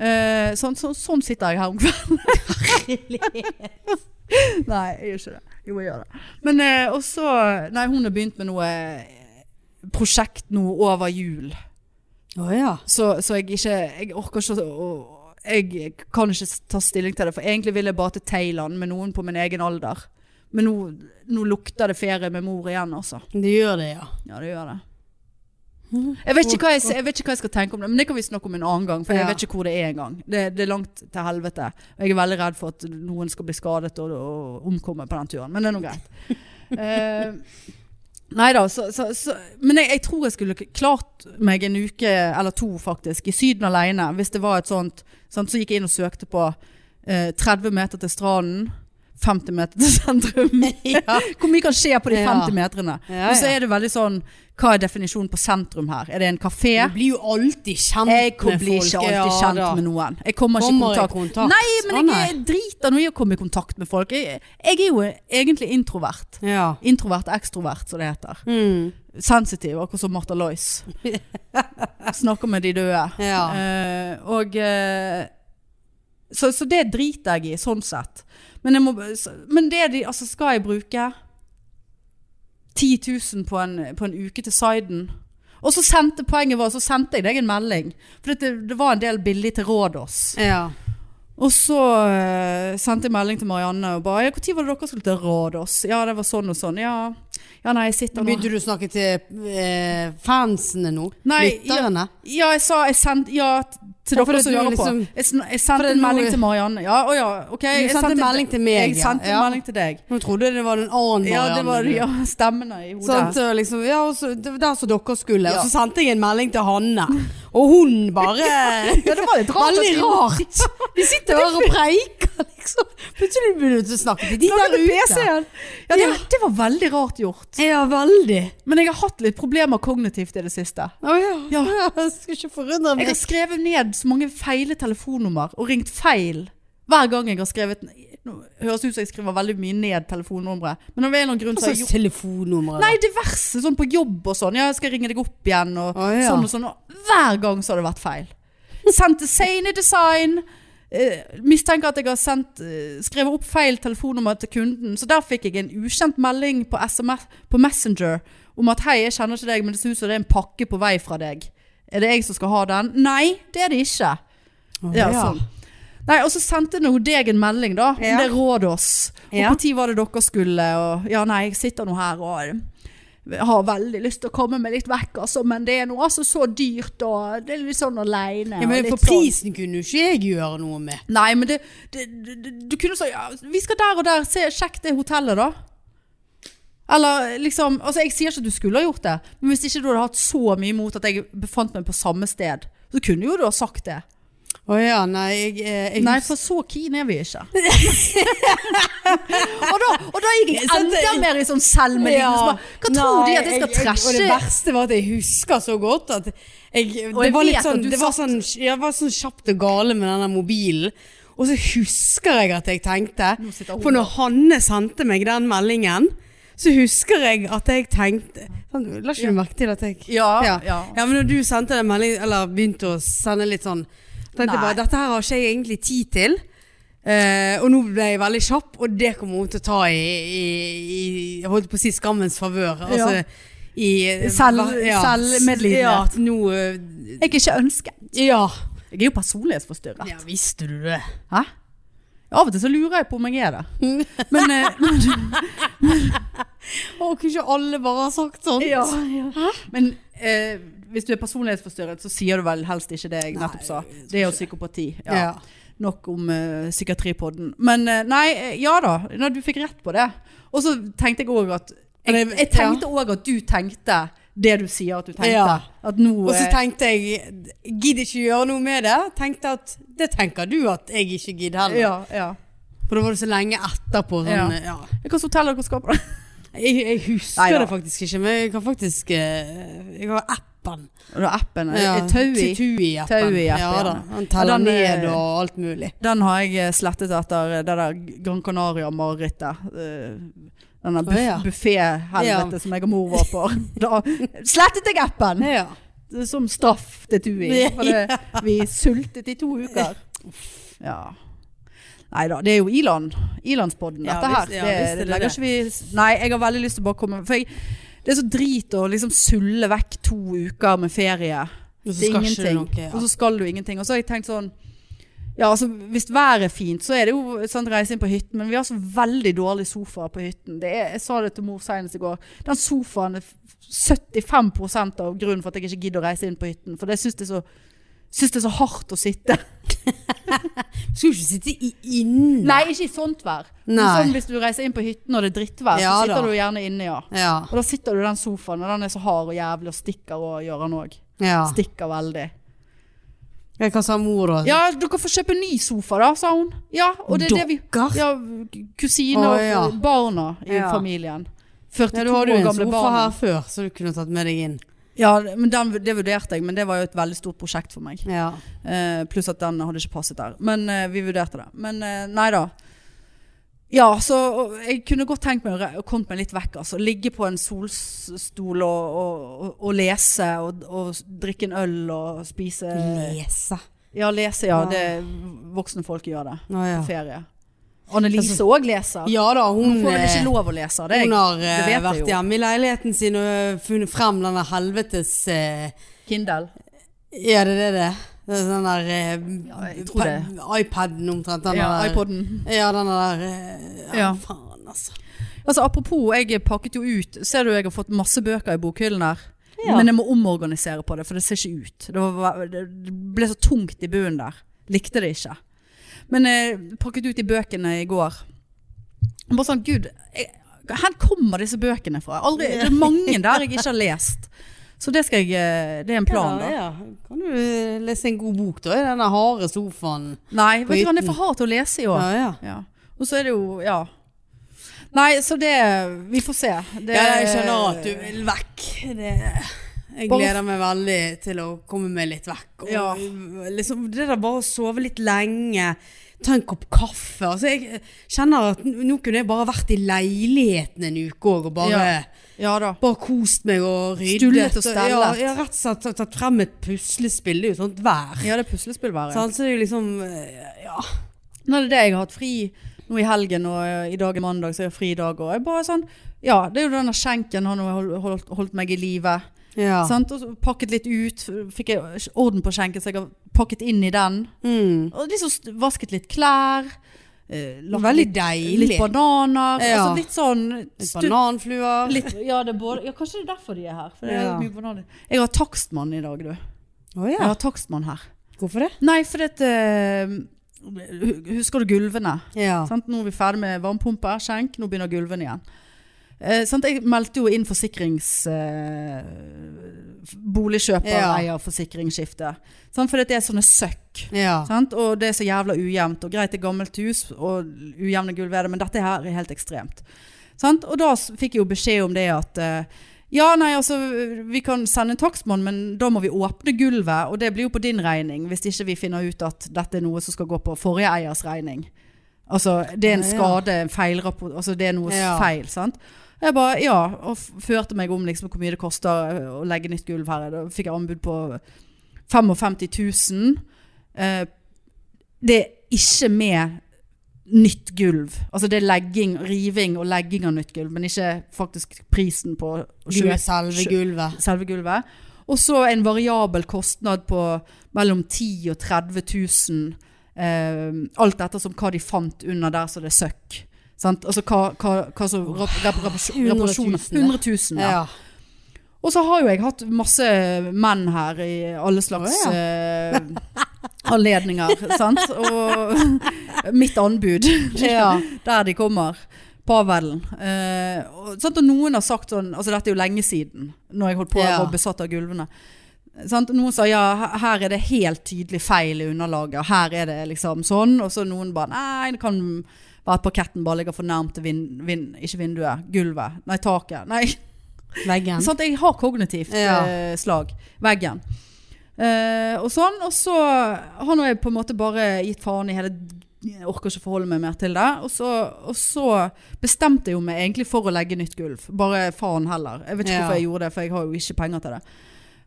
[SPEAKER 1] Eh, sånn, sånn- sånn sitter jeg her om kvelden. nei, jeg gjør ikke det. Jo, jeg gjør det. Men eh, og så- Nei, hun har begynt med noe eh, prosjekt nå over jul.
[SPEAKER 2] Å ja.
[SPEAKER 1] Så, så jeg ikke Jeg orker ikke å å- Jeg kan ikke ta stilling til det, for egentlig vil jeg bare til Thailand med noen på min egen alder. Men nå, nå lukter det ferie med mor igjen, altså.
[SPEAKER 2] Det gjør det, ja.
[SPEAKER 1] Ja, det gjør det. Jeg vet, ikke hva jeg, jeg vet ikke hva jeg skal tenke om det, men det kan vi snakke om en annen gang. For jeg
[SPEAKER 2] Ja.
[SPEAKER 1] vet ikke hvor det er engang. Det, det er langt til helvete. Og jeg er veldig redd for at noen skal bli skadet og, og omkomme på den turen. Men det er nå greit. uh, nei da, så, så, så Men jeg, jeg tror jeg skulle k- klart meg en uke eller to faktisk i Syden alene. Hvis det var et sånt sant, Så gikk jeg inn og søkte på eh, 30 meter til stranden, 50 meter til sentrum.
[SPEAKER 2] ja.
[SPEAKER 1] Hvor mye kan skje på de
[SPEAKER 2] Ja.
[SPEAKER 1] 50 meterne?
[SPEAKER 2] Ja,
[SPEAKER 1] Og så
[SPEAKER 2] ja.
[SPEAKER 1] er det veldig sånn Hva er definisjonen på sentrum her? Er det en kafé?
[SPEAKER 2] *laughs* Du blir jo alltid kjent
[SPEAKER 1] Jeg kom-
[SPEAKER 2] Mm. med folk.
[SPEAKER 1] blir ikke alltid kjent med noen. Jeg kommer ikke i
[SPEAKER 2] Kommer i
[SPEAKER 1] kontakt.
[SPEAKER 2] kontakt.
[SPEAKER 1] Nei,
[SPEAKER 2] Å,
[SPEAKER 1] men
[SPEAKER 2] nei.
[SPEAKER 1] jeg er- driter nå i å komme i kontakt med folk. Jeg, jeg er jo egentlig introvert.
[SPEAKER 2] Ja.
[SPEAKER 1] Introvert ekstrovert, som det heter.
[SPEAKER 2] Mm.
[SPEAKER 1] Sensitiv, akkurat som Martha
[SPEAKER 2] *laughs*
[SPEAKER 1] Lois. Snakker med de døde.
[SPEAKER 2] Ja.
[SPEAKER 1] Eh, og eh, så, så det driter jeg i, sånn sett. Men, jeg må, så- men det de Altså, skal jeg bruke 10 000 på en, på en uke til Syden? Og så sendte poenget var, så sendte jeg deg en melding. For det, det var en del billig til Rådås.
[SPEAKER 2] ja.
[SPEAKER 1] Og så eh, sendte jeg melding til Marianne og bare ja, 'Når var det dere skulle til Rådås?' 'Ja, det var sånn og sånn.' 'Ja, ja nei, jeg sitter nå
[SPEAKER 2] Begynte du å snakke til eh, fansene nå?
[SPEAKER 1] Nei,
[SPEAKER 2] Lytterne?
[SPEAKER 1] Ja, jeg sa jeg sendte, Ja, t- til
[SPEAKER 2] Ja, for
[SPEAKER 1] dere
[SPEAKER 2] det
[SPEAKER 1] som
[SPEAKER 2] du
[SPEAKER 1] hører
[SPEAKER 2] liksom-
[SPEAKER 1] på. Jeg, sn- jeg
[SPEAKER 2] for
[SPEAKER 1] sendte
[SPEAKER 2] det
[SPEAKER 1] en
[SPEAKER 2] nå-
[SPEAKER 1] melding til Marianne. Ja, å ja, ok.
[SPEAKER 2] Du
[SPEAKER 1] jeg
[SPEAKER 2] sendte en melding til meg,
[SPEAKER 1] Jeg sendte
[SPEAKER 2] ja.
[SPEAKER 1] en melding til deg.
[SPEAKER 2] Nå trodde jeg det var en annen
[SPEAKER 1] Ja, det var
[SPEAKER 2] Marianne.
[SPEAKER 1] ja, stemmene i hodet.
[SPEAKER 2] Sånn, så liksom, ja, og så, det var der som dere skulle.
[SPEAKER 1] Ja.
[SPEAKER 2] Og så sendte jeg en melding til Hanne, og hun bare
[SPEAKER 1] *laughs* Ja, det var litt rart.
[SPEAKER 2] *laughs* Veldig rart. De sitter her og preiker, liksom. Plutselig begynner du å snakke til de
[SPEAKER 1] Snakket
[SPEAKER 2] der
[SPEAKER 1] til
[SPEAKER 2] ute.
[SPEAKER 1] PC-en. Ja, det, det var veldig rart gjort.
[SPEAKER 2] Ja, veldig.
[SPEAKER 1] Men jeg har hatt litt problemer kognitivt i det siste.
[SPEAKER 2] Å ja.
[SPEAKER 1] Ja.
[SPEAKER 2] Jeg skulle ikke forundre
[SPEAKER 1] Jeg
[SPEAKER 2] meg.
[SPEAKER 1] har skrevet ned så mange feile telefonnummer og ringt feil hver gang jeg har skrevet Nå høres det ut som jeg skriver veldig mye ned telefonnumre, men av en eller annen grunn
[SPEAKER 2] Hva
[SPEAKER 1] så har jeg
[SPEAKER 2] slags
[SPEAKER 1] gjort
[SPEAKER 2] telefonnummer?
[SPEAKER 1] Nei, diverse. Sånn på jobb og sånn. Ja, jeg skal ringe deg opp igjen og
[SPEAKER 2] Å, ja.
[SPEAKER 1] sånn og sånn. Og hver gang så har det vært feil. Sendt til Sane Design. eh, mistenker at jeg har sendt, eh, skrevet opp feil telefonnummer til kunden. Så der fikk jeg en ukjent melding på, SMS, på Messenger om at hei, jeg kjenner ikke deg, men det ser ut som det er en pakke på vei fra deg. Er det jeg som skal ha den? Nei, det er det ikke.
[SPEAKER 2] Å,
[SPEAKER 1] Ja,
[SPEAKER 2] ja.
[SPEAKER 1] sånn. Nei, og så sendte nå deg en melding da, om
[SPEAKER 2] Ja.
[SPEAKER 1] det rådet oss. Og
[SPEAKER 2] Ja.
[SPEAKER 1] på tid var det dere skulle, og ja nei, jeg sitter nå her og har veldig lyst til å komme meg litt vekk, altså, men det er nå altså så dyrt, og det er litt sånn alene.
[SPEAKER 2] Ja,
[SPEAKER 1] og
[SPEAKER 2] men
[SPEAKER 1] litt
[SPEAKER 2] for prisen kunne jo ikke jeg gjøre noe med.
[SPEAKER 1] Sånn. Nei, men det, det, det, det- du kunne sagt, ja, vi skal der og der, se, sjekk det hotellet da. Eller liksom, altså jeg sier ikke at du skulle ha gjort det, men hvis ikke du hadde hatt så mye imot at jeg befant meg på samme sted, så kunne jo du ha sagt det.
[SPEAKER 2] Å ja, nei, jeg, eh, jeg
[SPEAKER 1] Nei,
[SPEAKER 2] husker-
[SPEAKER 1] for så keen er vi
[SPEAKER 2] *laughs*
[SPEAKER 1] ikke. og, da, og da gikk jeg
[SPEAKER 2] Sant,
[SPEAKER 1] enda
[SPEAKER 2] jeg-
[SPEAKER 1] mer i sånn selvmedlidelse.
[SPEAKER 2] Ja.
[SPEAKER 1] bare, Hva tror de
[SPEAKER 2] Nei,
[SPEAKER 1] at jeg skal
[SPEAKER 2] jeg- Og det
[SPEAKER 1] trashe?
[SPEAKER 2] verste var at jeg husker så godt at jeg,
[SPEAKER 1] Og
[SPEAKER 2] det
[SPEAKER 1] jeg
[SPEAKER 2] var
[SPEAKER 1] vet
[SPEAKER 2] litt
[SPEAKER 1] at
[SPEAKER 2] sånn,
[SPEAKER 1] du
[SPEAKER 2] det var
[SPEAKER 1] satt-
[SPEAKER 2] sånn, jeg var sånn kjapt og gale med denne mobilen. Og så husker jeg at jeg
[SPEAKER 1] Nå sitter
[SPEAKER 2] tenkte,
[SPEAKER 1] hun
[SPEAKER 2] for når
[SPEAKER 1] der.
[SPEAKER 2] Hanne sendte meg den meldingen, så husker jeg at jeg tenkte, sånn, la ikke du merke til at jeg...
[SPEAKER 1] Ja,
[SPEAKER 2] Ja.
[SPEAKER 1] ja.
[SPEAKER 2] Ja, men når du sendte den meldingen, eller begynte å sende litt sånn, tenkte jeg
[SPEAKER 1] Nei.
[SPEAKER 2] bare, dette her har ikke jeg egentlig tid til. Eh, og nå ble jeg veldig kjapp, og det kommer hun til å ta i, i, i jeg holdt på å si skammens favør. Altså,
[SPEAKER 1] Ja.
[SPEAKER 2] i, eh,
[SPEAKER 1] Selv- selvmedlidenhet.
[SPEAKER 2] Ja, at nå, eh,
[SPEAKER 1] Jeg er ikke ønsket.
[SPEAKER 2] ja.
[SPEAKER 1] Jeg er jo personlighetsforstyrret.
[SPEAKER 2] ja, visste du det?
[SPEAKER 1] Hæ? Av og til så lurer jeg på om jeg er det. Men,
[SPEAKER 2] *laughs*
[SPEAKER 1] eh, men,
[SPEAKER 2] Å, kunne ikke alle bare ha sagt sånn?
[SPEAKER 1] men eh, hvis du er personlighetsforstyrret, så sier du vel helst ikke det jeg nettopp sa. Det er jo psykopati.
[SPEAKER 2] Ja.
[SPEAKER 1] Ja. Nok om eh, psykiatripodden. Men eh, nei, eh, ja da. Nei, du fikk rett på det. Og så tenkte jeg òg at jeg,
[SPEAKER 2] Men det-
[SPEAKER 1] jeg tenkte også at du tenkte det du sier at du tenkte.
[SPEAKER 2] Ja.
[SPEAKER 1] At nå
[SPEAKER 2] Og så
[SPEAKER 1] eh,
[SPEAKER 2] tenkte jeg, gidder ikke gjøre noe med det. Tenkte at, det tenker du at jeg ikke gidder heller.
[SPEAKER 1] ja, ja.
[SPEAKER 2] For da var det så lenge etterpå. Sånn, ja.
[SPEAKER 1] Hvilket hotell dere skal på?
[SPEAKER 2] Jeg, jeg husker
[SPEAKER 1] Neida.
[SPEAKER 2] det faktisk ikke, men jeg kan faktisk eh, Jeg har appen.
[SPEAKER 1] Og da appen.
[SPEAKER 2] Ja,
[SPEAKER 1] eh, Taui.
[SPEAKER 2] Tui-appen.
[SPEAKER 1] Taui-appen,
[SPEAKER 2] ja
[SPEAKER 1] ja.
[SPEAKER 2] da. Han teller
[SPEAKER 1] den eh, er-
[SPEAKER 2] ned og alt mulig.
[SPEAKER 1] Den har jeg eh, slettet etter eh, det der Gran Canaria-marerittet. eh, Denne buff
[SPEAKER 2] Å, ja.
[SPEAKER 1] buffé-helvete
[SPEAKER 2] Ja.
[SPEAKER 1] som jeg og mor var på. *laughs* Da slettet jeg appen!
[SPEAKER 2] Ja.
[SPEAKER 1] Det er som straff til Tui.
[SPEAKER 2] Ja.
[SPEAKER 1] For det, vi sultet i to uker. Ja. Nei da, det er jo Ilan. Ilandspodden,
[SPEAKER 2] Ja,
[SPEAKER 1] dette her.
[SPEAKER 2] visst- ja,
[SPEAKER 1] det,
[SPEAKER 2] visst er
[SPEAKER 1] det
[SPEAKER 2] det
[SPEAKER 1] legger
[SPEAKER 2] det.
[SPEAKER 1] ikke vi Nei, jeg har veldig lyst til å bare komme For jeg, det er så drit å liksom sulle vekk to uker med ferie.
[SPEAKER 2] Og så
[SPEAKER 1] Det er
[SPEAKER 2] skal ikke du
[SPEAKER 1] ingenting.
[SPEAKER 2] noe.
[SPEAKER 1] Og
[SPEAKER 2] Ja.
[SPEAKER 1] så skal du ingenting. Og så har jeg tenkt sånn Ja, altså hvis været er fint, så er det jo sånn reise inn på hytten, men vi har så veldig dårlige sofaer på hytten. Det er, jeg sa det til mor senest i går. Den sofaen er f- 75 av grunnen for at jeg ikke gidder å reise inn på hytten. For det syns det er så Syns det er så hardt å sitte.
[SPEAKER 2] Skulle ikke sitte i, inne.
[SPEAKER 1] Nei, ikke i sånt vær. Men
[SPEAKER 2] Nei.
[SPEAKER 1] sånn hvis du reiser inn på hytten og det er drittvær,
[SPEAKER 2] Ja
[SPEAKER 1] så sitter
[SPEAKER 2] da.
[SPEAKER 1] du gjerne inne, ja.
[SPEAKER 2] Ja.
[SPEAKER 1] Og da sitter du i den sofaen, og den er så hard og jævlig og stikker og gjør den òg.
[SPEAKER 2] ja.
[SPEAKER 1] Stikker veldig.
[SPEAKER 2] Jeg kan sa mor og
[SPEAKER 1] Ja, dere får kjøpe ny sofa da, sa hun. Ja, og det er det vi
[SPEAKER 2] Dokker?
[SPEAKER 1] ja, Kusiner
[SPEAKER 2] Å, ja.
[SPEAKER 1] og barna i
[SPEAKER 2] Ja.
[SPEAKER 1] familien.
[SPEAKER 2] Ja,
[SPEAKER 1] 42
[SPEAKER 2] du hadde jo
[SPEAKER 1] år
[SPEAKER 2] en
[SPEAKER 1] gamle
[SPEAKER 2] sofa
[SPEAKER 1] barna.
[SPEAKER 2] her før, så du kunne tatt med deg inn.
[SPEAKER 1] Ja, men den, det vurderte jeg, men det var jo et veldig stort prosjekt for meg.
[SPEAKER 2] Ja.
[SPEAKER 1] Eh, pluss at den hadde ikke passet der. Men eh, vi vurderte det. Men eh, nei da. Ja, så og jeg kunne godt tenkt meg å re- å komme meg litt vekk. Altså. Ligge på en solstol og, og, og, og lese og, og drikke en øl og spise
[SPEAKER 2] Lese.
[SPEAKER 1] Ja, lese, ja.
[SPEAKER 2] Ja.
[SPEAKER 1] Det, voksne folk gjør det.
[SPEAKER 2] Å, ja.
[SPEAKER 1] på ferie. Annelise òg leser.
[SPEAKER 2] ja da, hun,
[SPEAKER 1] Hun får vel
[SPEAKER 2] eh,
[SPEAKER 1] ikke lov å lese. Det,
[SPEAKER 2] hun har eh,
[SPEAKER 1] det vet jeg
[SPEAKER 2] vært
[SPEAKER 1] jo.
[SPEAKER 2] hjemme i leiligheten sin og funnet frem denne helvetes eh,
[SPEAKER 1] Kindle.
[SPEAKER 2] Ja, det er det. Den der eh,
[SPEAKER 1] Ja, jeg tror det.
[SPEAKER 2] pa- iPaden omtrent. Den
[SPEAKER 1] Ja,
[SPEAKER 2] der,
[SPEAKER 1] iPoden.
[SPEAKER 2] Ja, den der eh, ja,
[SPEAKER 1] Ja.
[SPEAKER 2] faen, altså.
[SPEAKER 1] Altså, apropos, jeg pakket jo ut. Ser du jeg har fått masse bøker i bokhyllen her?
[SPEAKER 2] Ja.
[SPEAKER 1] Men jeg må omorganisere på det, for det ser ikke ut. Det, var, det ble så tungt i bunnen der. Likte det ikke. Men jeg pakket ut de bøkene i går. Bare sånn, gud, jeg, hvor kommer disse bøkene fra? Jeg har Aldri, det er mange der jeg ikke har lest. Så det, skal jeg, eh, det er en plan,
[SPEAKER 2] ja,
[SPEAKER 1] da.
[SPEAKER 2] ja. Kan du eh, lese en god bok, da? I den der harde sofaen.
[SPEAKER 1] Nei, vet du hva, det er for hardt å lese i år.
[SPEAKER 2] Ja, ja.
[SPEAKER 1] Ja. Og så er det jo, ja. Nei, så det, vi får se. Det,
[SPEAKER 2] ja, jeg skjønner at du vil vekk. Det, jeg
[SPEAKER 1] Bare-
[SPEAKER 2] gleder meg veldig til å komme meg litt vekk. Og,
[SPEAKER 1] Ja.
[SPEAKER 2] liksom, det der bare å sove litt lenge, ta en kopp kaffe. Altså, jeg kjenner at n- nå kunne jeg bare vært i leiligheten en uke òg og bare,
[SPEAKER 1] Ja da.
[SPEAKER 2] bare kost meg og ryddet.
[SPEAKER 1] Stullet og stellet.
[SPEAKER 2] Ja, ja, rett og slett tatt- tatt frem et puslespill. Det er jo sånt vær.
[SPEAKER 1] Ja, det er puslespill hver
[SPEAKER 2] Sant? Så det er jo liksom eh, Ja.
[SPEAKER 1] Nå er det det jeg har hatt fri nå i helgen, og eh, i dag er mandag, så er jeg fri i dag. Og jeg bare sånn, ja, det er jo denne skjenken han har hol- holdt, holdt meg i live.
[SPEAKER 2] ja.
[SPEAKER 1] Sant? Og så pakket litt ut, fikk jeg orden på skjenken, så jeg har pakket inn i den.
[SPEAKER 2] Mm.
[SPEAKER 1] Og liksom st- vasket litt klær. eh, lagt
[SPEAKER 2] Veldig
[SPEAKER 1] litt,
[SPEAKER 2] deilig.
[SPEAKER 1] litt bananer.
[SPEAKER 2] Ja.
[SPEAKER 1] Altså litt sånn stu-
[SPEAKER 2] Bananfluer.
[SPEAKER 1] Litt, ja, det er både, ja, kanskje det er derfor de er her. For det er
[SPEAKER 2] Ja.
[SPEAKER 1] mye bananer. Jeg har takstmann i dag, du.
[SPEAKER 2] Å
[SPEAKER 1] Jeg
[SPEAKER 2] ja.
[SPEAKER 1] har takstmann her.
[SPEAKER 2] Hvorfor det?
[SPEAKER 1] Nei, for dette Husker du gulvene?
[SPEAKER 2] Ja.
[SPEAKER 1] Sant? Nå er vi ferdig med varmepumpe, skjenk, nå begynner gulvene igjen. Eh, sant? Jeg meldte jo inn forsikrings... Eh, boligkjøper,
[SPEAKER 2] Ja.
[SPEAKER 1] eier, forsikringsskifte. Sant? For det er sånne søkk.
[SPEAKER 2] ja.
[SPEAKER 1] Sant? Og det er så jævla ujevnt. Og greit, det er gammelt hus, og ujevne gulv er det, men dette her er helt ekstremt. Sant? Og da s- fikk jeg jo beskjed om det at eh, ja, nei, altså, vi kan sende en takstmann, men da må vi åpne gulvet, og det blir jo på din regning, hvis ikke vi finner ut at dette er noe som skal gå på forrige eiers regning. Altså, det er en
[SPEAKER 2] Ja, ja.
[SPEAKER 1] skade, en feilrapport, altså det er noe
[SPEAKER 2] Ja.
[SPEAKER 1] feil, sant? Jeg bare, ja, og f- førte meg om liksom hvor mye det koster eh, å legge nytt gulv her. Da fikk jeg anbud på 55 000. Eh, det er ikke med nytt gulv. Altså det er legging, riving og legging av nytt gulv, men ikke faktisk prisen på
[SPEAKER 2] Du er
[SPEAKER 1] 20,
[SPEAKER 2] selve
[SPEAKER 1] sjø-
[SPEAKER 2] gulvet.
[SPEAKER 1] selve gulvet. Og så en variabel kostnad på mellom 10 og 30 000. Eh, alt etter som hva de fant under der så det er søkk. Sant? Altså hva, hva, hva som rap, rap, rap, reparasjoner.
[SPEAKER 2] 100
[SPEAKER 1] 100 000. Ja.
[SPEAKER 2] Ja. *laughs*
[SPEAKER 1] Og så har jo jeg hatt masse menn her i alle slags
[SPEAKER 2] Å,
[SPEAKER 1] eh, anledninger, sant? Og mitt anbud,
[SPEAKER 2] Ja.
[SPEAKER 1] der de kommer, pavelen. Eh, og, sant? og noen har sagt sånn, altså dette er jo lenge siden, når jeg holdt på
[SPEAKER 2] Ja.
[SPEAKER 1] og besatt av gulvene. Sant? Noen sa ja, he- her er det helt tydelig feil i underlaget, og her er det liksom sånn. Og så noen bare nei, det kan være at parketten bare ligger for nærmt til vind, vind, ikke vinduet, gulvet, nei taket. Nei,
[SPEAKER 2] Veggen.
[SPEAKER 1] Sant? Jeg har kognitivt
[SPEAKER 2] Ja.
[SPEAKER 1] eh, slag. Veggen. Eh, og sånn. Og så har nå jeg på en måte bare gitt faen i hele Jeg orker ikke forholde meg mer til det. Og så, og så bestemte jeg jo meg egentlig for å legge nytt gulv. Bare faen heller. Jeg vet ikke
[SPEAKER 2] Ja.
[SPEAKER 1] hvorfor jeg gjorde det, for jeg har jo ikke penger til det.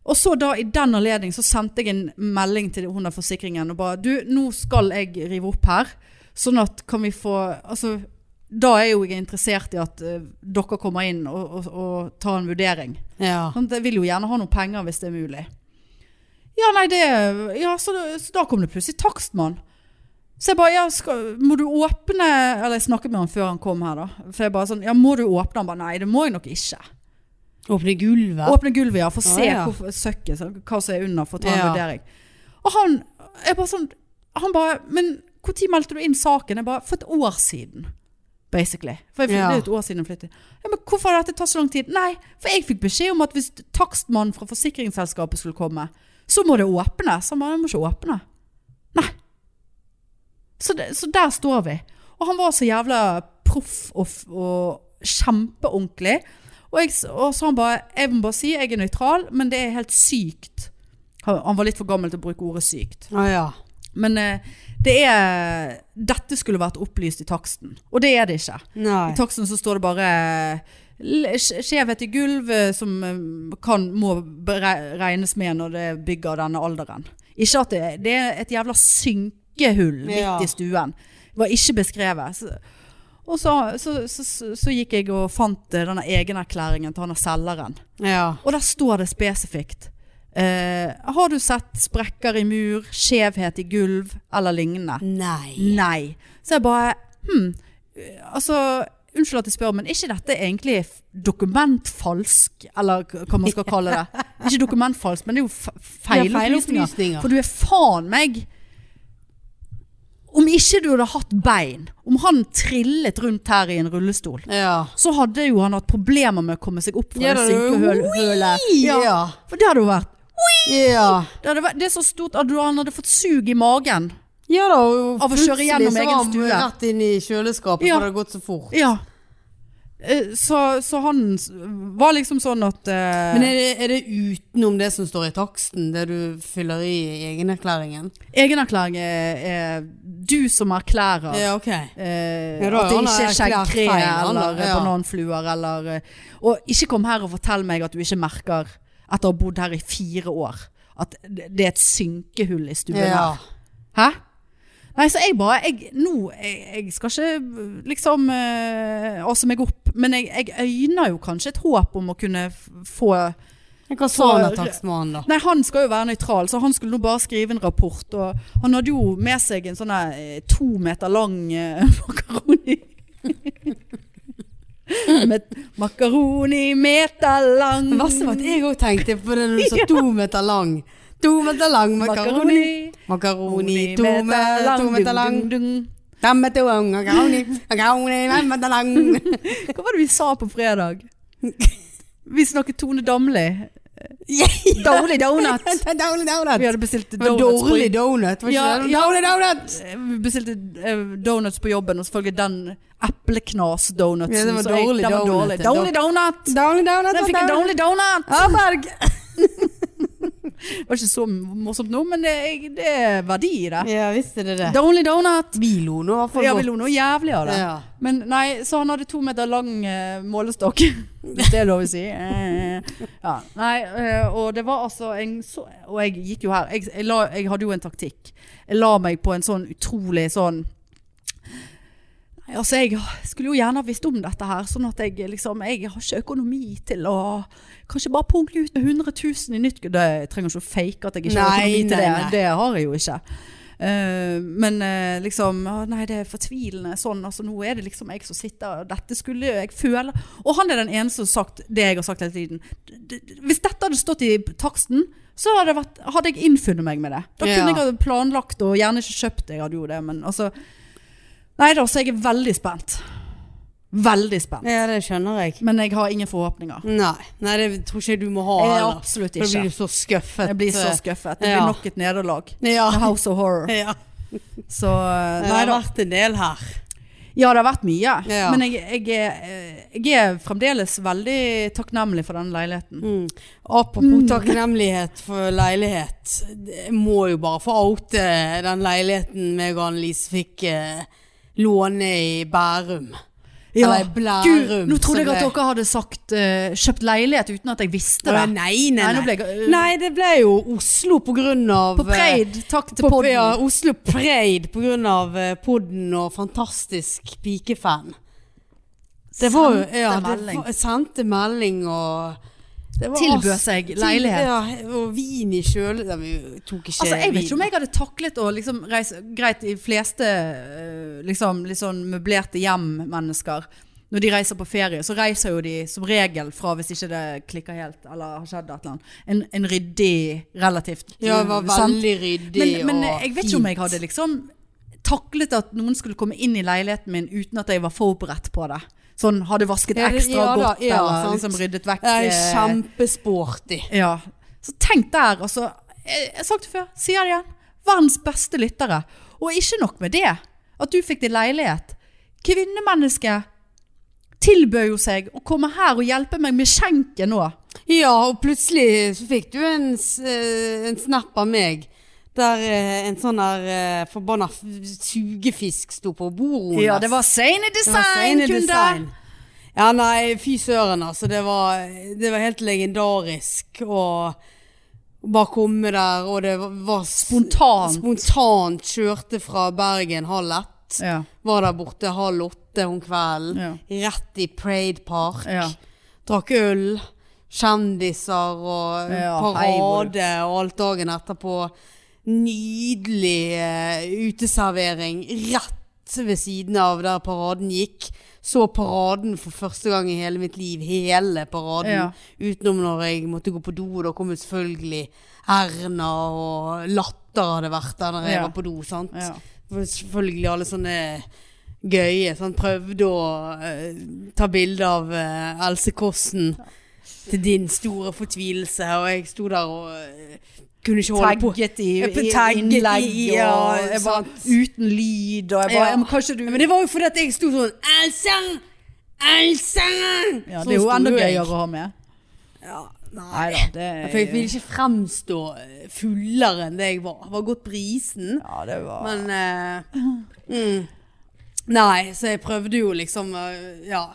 [SPEAKER 1] Og så da, i den anledning, så sendte jeg en melding til hun av forsikringen og bare Du, nå skal jeg rive opp her. Sånn at kan vi få Altså, da er jo jeg interessert i at eh, dere kommer inn og, og, og tar en vurdering.
[SPEAKER 2] Ja.
[SPEAKER 1] Sant? Jeg vil jo gjerne ha noen penger hvis det er mulig. Ja, nei, det Ja, så, da- så da kom det plutselig takstmann. Så jeg bare ja, skal, Må du åpne Eller jeg snakket med han før han kom her, da. For jeg bare sånn Ja, må du åpne? Han bare nei, det må jeg nok ikke.
[SPEAKER 2] Åpne gulvet.
[SPEAKER 1] Åpne gulvet, ja. For å se
[SPEAKER 2] Å, ja.
[SPEAKER 1] Hvor, søkket, så- hva som er under, for å ta en
[SPEAKER 2] Ja.
[SPEAKER 1] vurdering. Og han jeg bare sånn Han bare Men når meldte du inn saken? Jeg bare For et år siden. Basically. For jeg flyttet,
[SPEAKER 2] Ja.
[SPEAKER 1] Det er jo et år siden jeg flyttet. Ja, men hvorfor har dette tatt så lang tid? Nei, for jeg fikk beskjed om at hvis takstmannen fra forsikringsselskapet skulle komme, så må det åpnes. Han bare Jeg må ikke åpne. Nei. Så, det, så der står vi. Og han var så jævla proff og, f- og kjempeordentlig. Og, jeg, s- og så han bare Jeg må bare si jeg er nøytral, men det er helt sykt. Han, han var litt for gammel til å bruke ordet sykt.
[SPEAKER 2] Å ja.
[SPEAKER 1] Men eh, det er Dette skulle vært opplyst i taksten. Og det er det ikke.
[SPEAKER 2] Nei.
[SPEAKER 1] I taksten så står det bare l- sk- skjevhet i gulv eh, som eh, kan, må bere- regnes med når det er bygg av denne alderen. Ikke at det, det er et jævla synkehull midt
[SPEAKER 2] Ja.
[SPEAKER 1] i stuen. Det var ikke beskrevet. Så, og så, så, så, så, så gikk jeg og fant eh, denne egenerklæringen til han av selgeren.
[SPEAKER 2] Ja.
[SPEAKER 1] Og der står det spesifikt Eh, har du sett sprekker i mur, skjevhet i gulv eller lignende?
[SPEAKER 2] Nei.
[SPEAKER 1] Nei. Så jeg bare hm, eh, Altså, unnskyld at jeg spør, men er ikke dette egentlig f- dokumentfalsk? Eller k- hva man skal kalle
[SPEAKER 2] *laughs*
[SPEAKER 1] det. Ikke dokumentfalsk, men det er jo f-
[SPEAKER 2] Det er
[SPEAKER 1] feilopplysninger.
[SPEAKER 2] feilopplysninger.
[SPEAKER 1] For du er faen meg Om ikke du hadde hatt bein, om han trillet rundt her i en rullestol,
[SPEAKER 2] Ja.
[SPEAKER 1] så hadde jo han hatt problemer med å komme seg opp fra
[SPEAKER 2] Ja,
[SPEAKER 1] det
[SPEAKER 2] det hadde vært
[SPEAKER 1] synkehølet.
[SPEAKER 2] Ui!
[SPEAKER 1] Ja,
[SPEAKER 2] Ja.
[SPEAKER 1] for det hadde jo vært
[SPEAKER 2] Ja.
[SPEAKER 1] det, hadde vært, det er så stort at du- han hadde fått sug i magen.
[SPEAKER 2] Ja da, og
[SPEAKER 1] Av å kjøre
[SPEAKER 2] plutselig
[SPEAKER 1] gjennom
[SPEAKER 2] så
[SPEAKER 1] egen
[SPEAKER 2] var han
[SPEAKER 1] stue.
[SPEAKER 2] Rett inn i kjøleskapet,
[SPEAKER 1] Ja.
[SPEAKER 2] for det hadde gått så fort.
[SPEAKER 1] Ja. Eh, Så, så han s- var liksom sånn at eh,
[SPEAKER 2] Men er det, er det utenom det som står i taksten, det du fyller i i egenerklæringen?
[SPEAKER 1] Egenerklæring er, er du som erklærer.
[SPEAKER 2] Ja, ok.
[SPEAKER 1] eh,
[SPEAKER 2] Ja, da har
[SPEAKER 1] at det
[SPEAKER 2] han
[SPEAKER 1] ikke er
[SPEAKER 2] erklært
[SPEAKER 1] skjeggkre
[SPEAKER 2] feil, han da,
[SPEAKER 1] eller
[SPEAKER 2] ja.
[SPEAKER 1] bananfluer eller eh, Og ikke kom her og fortell meg at du ikke merker, etter å ha bodd her i fire år, at det det er et synkehull i stuen her.
[SPEAKER 2] Ja.
[SPEAKER 1] Hæ? Nei, så jeg bare jeg, Nå, jeg, jeg skal ikke liksom eh, ase meg opp, men jeg, jeg øyner jo kanskje et håp om å kunne f- få
[SPEAKER 2] Hva sa han
[SPEAKER 1] For- Mm. *laughs*
[SPEAKER 2] der takstmannen, da?
[SPEAKER 1] Nei, han skal jo være nøytral, så han skulle nå bare skrive en rapport. Og han hadde jo med seg en sånn her, eh, to meter lang eh, *laughs* makaroni. med makaroni meter lang.
[SPEAKER 2] Det verste var at jeg òg tenkte på
[SPEAKER 1] *laughs*
[SPEAKER 2] det når du sa to meter lang. To meter lang makaroni. Makaroni, to meter, to meter lang.
[SPEAKER 1] Dung, dung, dung.
[SPEAKER 2] Fem meter lang makaroni. Makaroni, fem meter lang.
[SPEAKER 1] *laughs*
[SPEAKER 2] *laughs*
[SPEAKER 1] Hva var det vi sa på fredag? Vi snakket Tone Damli.
[SPEAKER 2] Ja,
[SPEAKER 1] Dowly Donut.
[SPEAKER 2] Dårlig
[SPEAKER 1] Vi
[SPEAKER 2] donut.
[SPEAKER 1] hadde bestilt
[SPEAKER 2] Det var
[SPEAKER 1] donuts på,
[SPEAKER 2] Dårlig donut, var ikke
[SPEAKER 1] Ja,
[SPEAKER 2] det?
[SPEAKER 1] ja.
[SPEAKER 2] Dårlig donut!
[SPEAKER 1] vi bestilte eh, donuts på jobben, og selvfølgelig den epleknas-donutsen.
[SPEAKER 2] Ja, det var
[SPEAKER 1] så jeg-
[SPEAKER 2] dårlig
[SPEAKER 1] den var
[SPEAKER 2] donut,
[SPEAKER 1] dårlig.
[SPEAKER 2] det.
[SPEAKER 1] Dårlig donut!
[SPEAKER 2] Dårlig donut.
[SPEAKER 1] Den fikk en dårlig donut!
[SPEAKER 2] Aberg!
[SPEAKER 1] Det var ikke så morsomt nå, men det, jeg- det er verdi i det.
[SPEAKER 2] Ja, visste det det.
[SPEAKER 1] Dårlig donut!
[SPEAKER 2] Vi lo nå i hvert fall
[SPEAKER 1] Ja, vi
[SPEAKER 2] godt.
[SPEAKER 1] lo noe jævlig av det.
[SPEAKER 2] Ja.
[SPEAKER 1] Men nei, så han hadde to meter lang eh, målestokk. *laughs* Hvis det er lov å si. Eh, ja. Nei, eh, og det var altså en så, Og jeg gikk jo her. Jeg, jeg, la, jeg hadde jo en taktikk. Jeg la meg på en sånn utrolig sånn Nei, Altså, jeg skulle jo gjerne ha visst om dette her, sånn at jeg liksom Jeg har ikke økonomi til å Kanskje bare punkte ut med 100 000 i nytt Det jeg trenger ikke å fake at jeg ikke har
[SPEAKER 2] Nei,
[SPEAKER 1] økonomi til
[SPEAKER 2] nei,
[SPEAKER 1] det.
[SPEAKER 2] nei.
[SPEAKER 1] Det har jeg jo ikke. Eh, men eh, liksom å, Nei, det er fortvilende sånn. Altså, nå er det liksom jeg som sitter og Dette skulle jo jeg føle Og han er den eneste som har sagt det jeg har sagt hele tiden. D- d- Hvis dette hadde stått i taksten, så hadde, det vært, hadde jeg innfunnet meg med det. Da
[SPEAKER 2] Ja.
[SPEAKER 1] kunne jeg ha planlagt og gjerne ikke kjøpt det. Jeg hadde jo det, men altså Nei da, så jeg er veldig spent. Veldig spent.
[SPEAKER 2] Ja, det skjønner jeg.
[SPEAKER 1] Men jeg har ingen forhåpninger.
[SPEAKER 2] Nei, nei det tror ikke jeg du må ha.
[SPEAKER 1] Jeg er
[SPEAKER 2] heller.
[SPEAKER 1] absolutt
[SPEAKER 2] Da blir
[SPEAKER 1] ikke.
[SPEAKER 2] du så skuffet.
[SPEAKER 1] Jeg blir så skuffet. Det
[SPEAKER 2] Ja.
[SPEAKER 1] blir nok et nederlag.
[SPEAKER 2] Ja.
[SPEAKER 1] House of horror.
[SPEAKER 2] *laughs* ja.
[SPEAKER 1] Så eh,
[SPEAKER 2] Det
[SPEAKER 1] nei
[SPEAKER 2] har
[SPEAKER 1] da.
[SPEAKER 2] vært en del her.
[SPEAKER 1] Ja, det har vært mye.
[SPEAKER 2] Ja.
[SPEAKER 1] Men jeg, jeg, er, eh, jeg er fremdeles veldig takknemlig for den leiligheten.
[SPEAKER 2] Mm. Apropos takknemlighet for leilighet. Jeg må jo bare få oute den leiligheten meg og Annelise fikk eh, låne i Bærum. Eller i Blærum.
[SPEAKER 1] Gud, nå trodde
[SPEAKER 2] som
[SPEAKER 1] jeg at
[SPEAKER 2] det-
[SPEAKER 1] dere hadde sagt eh, kjøpt leilighet uten at jeg visste det.
[SPEAKER 2] Å, Nei, nei,
[SPEAKER 1] Nei,
[SPEAKER 2] nei.
[SPEAKER 1] nå ble jeg-
[SPEAKER 2] nei, det ble jo Oslo på grunn av eh,
[SPEAKER 1] På Preid, takk til
[SPEAKER 2] På-
[SPEAKER 1] podden.
[SPEAKER 2] Ja, Oslo Preid på grunn av eh, podden og fantastisk pikefan. Det var jo
[SPEAKER 1] Sendte
[SPEAKER 2] ja, det
[SPEAKER 1] melding.
[SPEAKER 2] var- Sendte melding og det var
[SPEAKER 1] Tilbød
[SPEAKER 2] ass-
[SPEAKER 1] seg
[SPEAKER 2] til-
[SPEAKER 1] leilighet.
[SPEAKER 2] Ja, og vin i kjøle... Nei, vi tok ikke
[SPEAKER 1] Altså, jeg vet ikke om
[SPEAKER 2] vin.
[SPEAKER 1] jeg hadde taklet å liksom reise Greit, de fleste eh, liksom, litt sånn møblerte hjem-mennesker Når de reiser på ferie, så reiser jo de som regel fra hvis ikke det klikker helt Eller har skjedd et eller annet En, en ryddig, relativt
[SPEAKER 2] Ja, det var
[SPEAKER 1] eh, sant?
[SPEAKER 2] veldig ryddig
[SPEAKER 1] men, men
[SPEAKER 2] og
[SPEAKER 1] jeg vet ikke om jeg hadde liksom taklet at noen skulle komme inn i leiligheten min uten at jeg var forberedt på det. Sånn hadde vasket
[SPEAKER 2] Ja, det-
[SPEAKER 1] ekstra
[SPEAKER 2] ja da,
[SPEAKER 1] godt
[SPEAKER 2] ja,
[SPEAKER 1] eller
[SPEAKER 2] sant.
[SPEAKER 1] liksom ryddet vekk.
[SPEAKER 2] Det er
[SPEAKER 1] eh,
[SPEAKER 2] kjempesporty.
[SPEAKER 1] ja. Så tenk der, altså. Jeg jeg har sagt det før, sier det igjen. Verdens beste lyttere. Og ikke nok med det, at du fikk din leilighet. Kvinnemennesket tilbød jo seg å komme her og hjelpe meg med skjenken nå.
[SPEAKER 2] Ja, og plutselig så fikk du en, s- eh, en snap av meg. Der eh, en sånn der eh, forbanna f- sugefisk sto på bordet. hennes.
[SPEAKER 1] Ja, det var Sane
[SPEAKER 2] Det var
[SPEAKER 1] Design,
[SPEAKER 2] Seine
[SPEAKER 1] kunde!
[SPEAKER 2] Design. Ja, nei, fy søren, altså. Det var, det var helt legendarisk å bare komme der, og det var- var s-
[SPEAKER 1] Spontant.
[SPEAKER 2] Spontant kjørte fra Bergen halv ett.
[SPEAKER 1] Ja.
[SPEAKER 2] Var der borte halv åtte om kvelden.
[SPEAKER 1] Ja.
[SPEAKER 2] Rett i Parade Park.
[SPEAKER 1] Ja.
[SPEAKER 2] Drakk øl. kjendiser og
[SPEAKER 1] Ja, hei, hvor
[SPEAKER 2] parade og alt dagen etterpå. Nydelig eh, uteservering rett ved siden av der paraden gikk. Så paraden for første gang i hele mitt liv. Hele paraden.
[SPEAKER 1] Ja.
[SPEAKER 2] Utenom når jeg måtte gå på do, og da kom jo selvfølgelig Erna og Latter hadde vært der når jeg
[SPEAKER 1] Ja.
[SPEAKER 2] var på do. sant?
[SPEAKER 1] Ja.
[SPEAKER 2] Det var Selvfølgelig alle sånne gøye. Sant? Prøvde å eh, ta bilde av eh, Else Kåssen til din store fortvilelse, og jeg sto der og eh, kunne ikke holde på.
[SPEAKER 1] Tagget i,
[SPEAKER 2] Jeg ble
[SPEAKER 1] i
[SPEAKER 2] tagget i-
[SPEAKER 1] innlegg og
[SPEAKER 2] ja,
[SPEAKER 1] jeg var
[SPEAKER 2] sant.
[SPEAKER 1] uten lyd og jeg bare
[SPEAKER 2] Ja.
[SPEAKER 1] ja. men Kanskje du
[SPEAKER 2] Men det var jo fordi at jeg sto sånn Else! Else!
[SPEAKER 1] ja,
[SPEAKER 2] Sånn
[SPEAKER 1] Det er jo
[SPEAKER 2] sto
[SPEAKER 1] enda
[SPEAKER 2] jeg.
[SPEAKER 1] gøyere å ha med.
[SPEAKER 2] Ja,
[SPEAKER 1] Nei
[SPEAKER 2] nei.
[SPEAKER 1] da, det
[SPEAKER 2] For jeg ville ikke fremstå eh, fullere enn det jeg var. Jeg var godt brisen.
[SPEAKER 1] Ja, det var
[SPEAKER 2] Men eh, mm. Nei, så jeg prøvde jo liksom eh, Ja.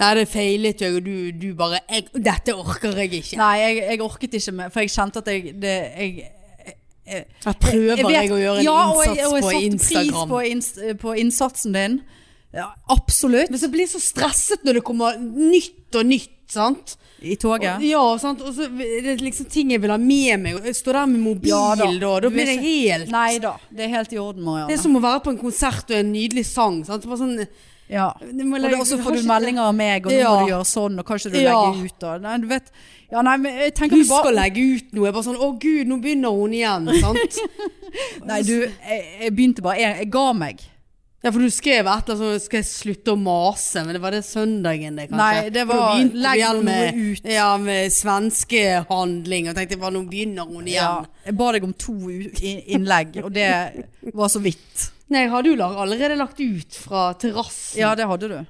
[SPEAKER 2] Nei, det feilet jo, og du, du bare jeg, 'Dette orker jeg ikke'.
[SPEAKER 1] Nei, jeg, jeg orket ikke mer, for jeg kjente at jeg, det, jeg
[SPEAKER 2] Da prøver jeg,
[SPEAKER 1] vet-
[SPEAKER 2] å gjøre en
[SPEAKER 1] ja, og
[SPEAKER 2] innsats
[SPEAKER 1] jeg, og jeg
[SPEAKER 2] på
[SPEAKER 1] satte
[SPEAKER 2] Instagram.
[SPEAKER 1] Pris på, inst, på innsatsen din. Ja, absolutt.
[SPEAKER 2] Men så blir jeg så stresset når det kommer nytt og nytt, sant?
[SPEAKER 1] I
[SPEAKER 2] Og,
[SPEAKER 1] toget.
[SPEAKER 2] ja, sant? Og så er det liksom ting jeg vil ha med meg. og Jeg står der med mobil,
[SPEAKER 1] Ja da.
[SPEAKER 2] da. Da,
[SPEAKER 1] Du
[SPEAKER 2] blir
[SPEAKER 1] er
[SPEAKER 2] det
[SPEAKER 1] ikke-
[SPEAKER 2] helt
[SPEAKER 1] Nei da, det er helt i orden, Marianne.
[SPEAKER 2] Det er som å være på en konsert og en nydelig sang. Sant? Bare sånn,
[SPEAKER 1] ja.
[SPEAKER 2] det må
[SPEAKER 1] Og
[SPEAKER 2] legge-
[SPEAKER 1] det- og så
[SPEAKER 2] har
[SPEAKER 1] får du
[SPEAKER 2] ikke-
[SPEAKER 1] meldinger av meg, og nå
[SPEAKER 2] Ja.
[SPEAKER 1] må du gjøre sånn, og kanskje du
[SPEAKER 2] Ja.
[SPEAKER 1] legger ut, og nei, du vet Ja, nei, men jeg tenker vi
[SPEAKER 2] Husk
[SPEAKER 1] bare
[SPEAKER 2] å legge ut noe. Jeg bare sånn 'Å gud, nå begynner hun igjen', sant?
[SPEAKER 1] *laughs* Nei, du, jeg, jeg begynte bare Jeg, jeg ga meg.
[SPEAKER 2] Ja, for du skrev et eller annet sånn 'skal jeg slutte å mase', men det var det søndagen det, kanskje?
[SPEAKER 1] Nei, det
[SPEAKER 2] For da
[SPEAKER 1] var-
[SPEAKER 2] begynte du
[SPEAKER 1] legg
[SPEAKER 2] igjen
[SPEAKER 1] noe
[SPEAKER 2] med,
[SPEAKER 1] ut.
[SPEAKER 2] Ja, med svenskehandling, og tenkte bare 'nå begynner hun
[SPEAKER 1] Ja,
[SPEAKER 2] igjen'.
[SPEAKER 1] jeg ba deg om to u- i- innlegg, og det var så vidt.
[SPEAKER 2] Nei, jeg hadde jo lag- allerede lagt ut fra terrassen,
[SPEAKER 1] Ja, det hadde du.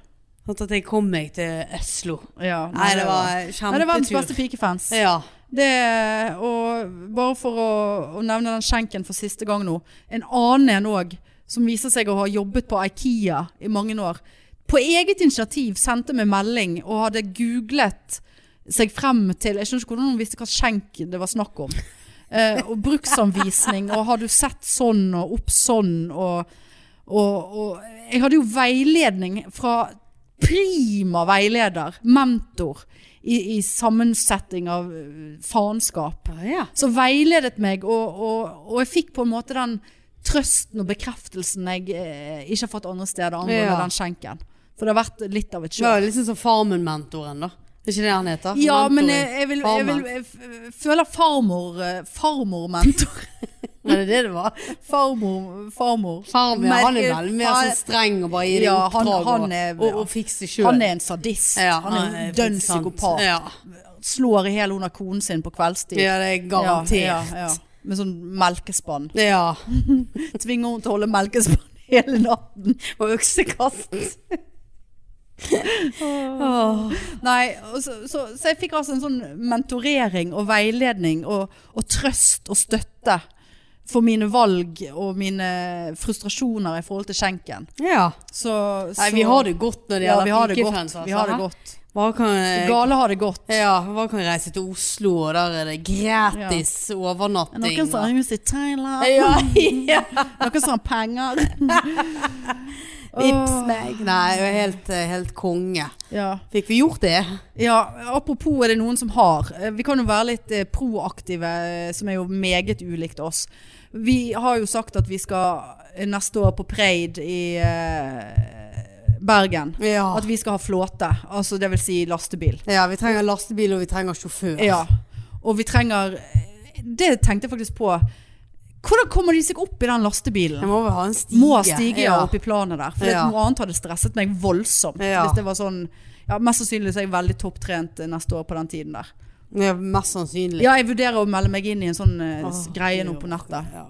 [SPEAKER 2] sånn at jeg kom meg til Øslo.
[SPEAKER 1] Ja,
[SPEAKER 2] Nei, det var
[SPEAKER 1] Nei, det var verdens beste
[SPEAKER 2] kjempetur.
[SPEAKER 1] pikefans.
[SPEAKER 2] Ja,
[SPEAKER 1] Det, og bare for å, å nevne den skjenken for siste gang nå. En annen en òg, som viser seg å ha jobbet på Ikea i mange år. På eget initiativ sendte meg melding og hadde googlet seg frem til Jeg skjønner ikke hvordan hun visste hva skjenk det var snakk om. Eh, og bruksanvisning, og har du sett sånn og opp sånn og, og, og Jeg hadde jo veiledning fra prima veileder, mentor, i, i sammensetting av eh, faenskap
[SPEAKER 2] ja. ja.
[SPEAKER 1] så veiledet meg, og, og, og jeg fikk på en måte den trøsten og bekreftelsen jeg eh, ikke har fått andre steder angående
[SPEAKER 2] Ja.
[SPEAKER 1] den skjenken. For det har vært litt av et
[SPEAKER 2] Det var
[SPEAKER 1] kjør.
[SPEAKER 2] jo liksom som Farmen-mentoren, da. Det er ikke det han heter?
[SPEAKER 1] Ja, men jeg,
[SPEAKER 2] Mentoren.
[SPEAKER 1] jeg, vil, jeg, vil, jeg f- føler farmor eh, Farmormentor.
[SPEAKER 2] Var det det det var?
[SPEAKER 1] Farmor, farmor.
[SPEAKER 2] Farmen, ja, han er
[SPEAKER 1] Merke-
[SPEAKER 2] vel mer sånn streng og bare gir deg
[SPEAKER 1] Ja, han-
[SPEAKER 2] oppdrag og-
[SPEAKER 1] han er-
[SPEAKER 2] og, og fikse sjøl.
[SPEAKER 1] Han er en sadist. han er en dønn psykopat.
[SPEAKER 2] Ja.
[SPEAKER 1] Slår i hjel under konen sin på kveldstid.
[SPEAKER 2] ja, det er garantert.
[SPEAKER 1] Ja, ja, ja. Med sånn melkespann.
[SPEAKER 2] Ja,
[SPEAKER 1] Tvinger hun til å holde melkespann *laughs* hele natten.
[SPEAKER 2] og øksekast.
[SPEAKER 1] Nei, og så, så, så jeg fikk altså en sånn mentorering og veiledning og, og trøst og støtte for mine valg og mine frustrasjoner i forhold til skjenken.
[SPEAKER 2] Ja.
[SPEAKER 1] Så,
[SPEAKER 2] Nei,
[SPEAKER 1] så-
[SPEAKER 2] vi har det godt når det
[SPEAKER 1] ja, vi har
[SPEAKER 2] gjelder
[SPEAKER 1] det
[SPEAKER 2] pikefans. altså.
[SPEAKER 1] godt. Vi har det godt.
[SPEAKER 2] Hva kan,
[SPEAKER 1] De gale har det godt.
[SPEAKER 2] ja, hva kan jeg reise til Oslo, og der er det gratis overnatting.
[SPEAKER 1] Noen som har hus i Thailand.
[SPEAKER 2] ja, *laughs* ja.
[SPEAKER 1] *laughs* Noen som har penger.
[SPEAKER 2] *laughs* Vips meg. Nei, det er helt, eh, helt konge.
[SPEAKER 1] Ja.
[SPEAKER 2] Fikk vi gjort det?
[SPEAKER 1] ja, apropos er det noen som har. Eh, Vi kan jo være litt eh, proaktive, eh, som er jo meget ulikt oss. Vi har jo sagt at vi skal eh, neste år på Preid i eh, Bergen.
[SPEAKER 2] Ja.
[SPEAKER 1] At vi skal ha flåte, altså det vil si lastebil.
[SPEAKER 2] ja. Vi trenger lastebil, og vi trenger sjåfør.
[SPEAKER 1] Ja, og vi trenger eh, Det tenkte jeg faktisk på. Hvordan kommer de seg opp i den
[SPEAKER 2] Jeg
[SPEAKER 1] lastebilen?
[SPEAKER 2] må vel ha en stige.
[SPEAKER 1] Må stige ja. opp i planet der. For
[SPEAKER 2] Ja.
[SPEAKER 1] noe annet hadde stresset meg voldsomt.
[SPEAKER 2] Ja.
[SPEAKER 1] Hvis det var sånn ja, Mest sannsynlig så er jeg veldig topptrent eh, neste år på den tiden der.
[SPEAKER 2] Ja, mest sannsynlig.
[SPEAKER 1] Ja, jeg vurderer å melde meg inn i en sånn eh, s-
[SPEAKER 2] Åh,
[SPEAKER 1] greie nå
[SPEAKER 2] jo.
[SPEAKER 1] på nettet.
[SPEAKER 2] Ja.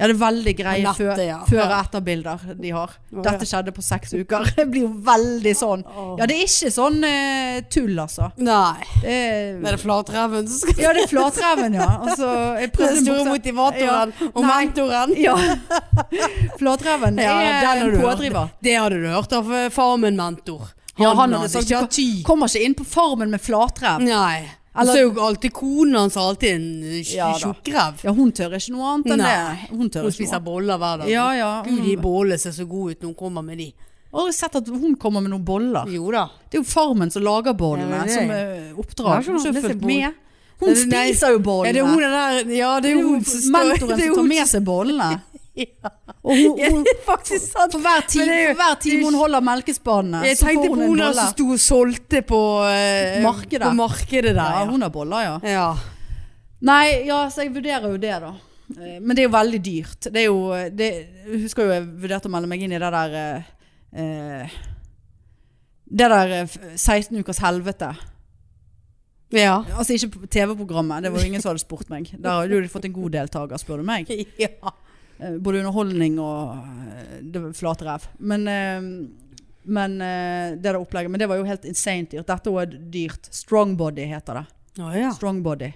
[SPEAKER 1] Ja, det er veldig greie
[SPEAKER 2] På nettet,
[SPEAKER 1] før,
[SPEAKER 2] ja.
[SPEAKER 1] før- og
[SPEAKER 2] Ja.
[SPEAKER 1] etterbilder de har.
[SPEAKER 2] Å, ja.
[SPEAKER 1] Dette skjedde på seks uker. *laughs* Det blir jo veldig sånn.
[SPEAKER 2] Åh.
[SPEAKER 1] Ja, det er ikke sånn eh, tull, altså.
[SPEAKER 2] Nei.
[SPEAKER 1] Det er-
[SPEAKER 2] Er det flatreven som skal
[SPEAKER 1] Ja, det er flatreven, ja. Altså, jeg prøvde
[SPEAKER 2] Den store
[SPEAKER 1] buksa-
[SPEAKER 2] motivatoren og
[SPEAKER 1] Nei.
[SPEAKER 2] mentoren.
[SPEAKER 1] Ja. *laughs* Flatreven
[SPEAKER 2] Ja, den
[SPEAKER 1] er
[SPEAKER 2] har du
[SPEAKER 1] en
[SPEAKER 2] hørt.
[SPEAKER 1] pådriver.
[SPEAKER 2] Det hadde du hørt av eh, Farmen-mentor. Han,
[SPEAKER 1] Ja, han hadde
[SPEAKER 2] hadde
[SPEAKER 1] sagt-
[SPEAKER 2] ikke hatt tid.
[SPEAKER 1] Kommer ikke inn på farmen med flatrev.
[SPEAKER 2] Nei.
[SPEAKER 1] Eller-
[SPEAKER 2] Eller, så er jo alltid konen hans alltid en eh, tj-
[SPEAKER 1] Ja da.
[SPEAKER 2] tjukkrev.
[SPEAKER 1] Ja, hun tør ikke noe annet enn
[SPEAKER 2] Nei.
[SPEAKER 1] det. Hun tør
[SPEAKER 2] Hun
[SPEAKER 1] ikke noe
[SPEAKER 2] spiser boller hver
[SPEAKER 1] annet.
[SPEAKER 2] dag.
[SPEAKER 1] Ja, ja.
[SPEAKER 2] Gud, de bollene ser så gode ut når hun kommer med de.
[SPEAKER 1] Og jeg har sett at hun kommer med noen boller.
[SPEAKER 2] Jo da.
[SPEAKER 1] Det er jo Farmen som lager
[SPEAKER 2] Ja,
[SPEAKER 1] bollene,
[SPEAKER 2] men det-
[SPEAKER 1] som eh, oppdrag.
[SPEAKER 2] Ja,
[SPEAKER 1] Hun har
[SPEAKER 2] det
[SPEAKER 1] ikke
[SPEAKER 2] ser
[SPEAKER 1] fulgt
[SPEAKER 2] bol-
[SPEAKER 1] med. Hun
[SPEAKER 2] Nei, nei.
[SPEAKER 1] spiser jo
[SPEAKER 2] Er det hun
[SPEAKER 1] bollene.
[SPEAKER 2] den der Ja, det
[SPEAKER 1] Det
[SPEAKER 2] er
[SPEAKER 1] er jo
[SPEAKER 2] hun som står
[SPEAKER 1] mentoren
[SPEAKER 2] det er
[SPEAKER 1] som tar
[SPEAKER 2] hun
[SPEAKER 1] med seg bollene.
[SPEAKER 2] *laughs* Ja,
[SPEAKER 1] Og hun,
[SPEAKER 2] *laughs*
[SPEAKER 1] hun,
[SPEAKER 2] det er faktisk sant.
[SPEAKER 1] for hver time,
[SPEAKER 2] Men det er jo-
[SPEAKER 1] for hver time hun holder melkespannene,
[SPEAKER 2] Jeg
[SPEAKER 1] så får
[SPEAKER 2] tenkte på
[SPEAKER 1] hun en
[SPEAKER 2] hun der
[SPEAKER 1] bolle.
[SPEAKER 2] som sto og solgte på, eh,
[SPEAKER 1] Markedet.
[SPEAKER 2] på markedet der.
[SPEAKER 1] Ja,
[SPEAKER 2] Ja.
[SPEAKER 1] hun har boller, ja.
[SPEAKER 2] ja.
[SPEAKER 1] Nei, ja, så jeg vurderer jo det da. Eh, Men det er jo veldig dyrt. Det er jo, det, jeg husker jo jeg vurderte å melde meg inn i det der eh, eh, Det der eh, 16 ukers helvete.
[SPEAKER 2] Ja.
[SPEAKER 1] Altså ikke på TV-programmet, det var jo ingen som hadde spurt meg. Der hadde jo de fått en god deltaker, spør du meg.
[SPEAKER 2] ja.
[SPEAKER 1] Eh, Både underholdning og eh, det var flate ræv. Men, eh, men eh, det der opplegget Men det var jo helt insane dyrt. Dette òg er dyrt. Strongbody heter det.
[SPEAKER 2] Å, ja.
[SPEAKER 1] Strongbody.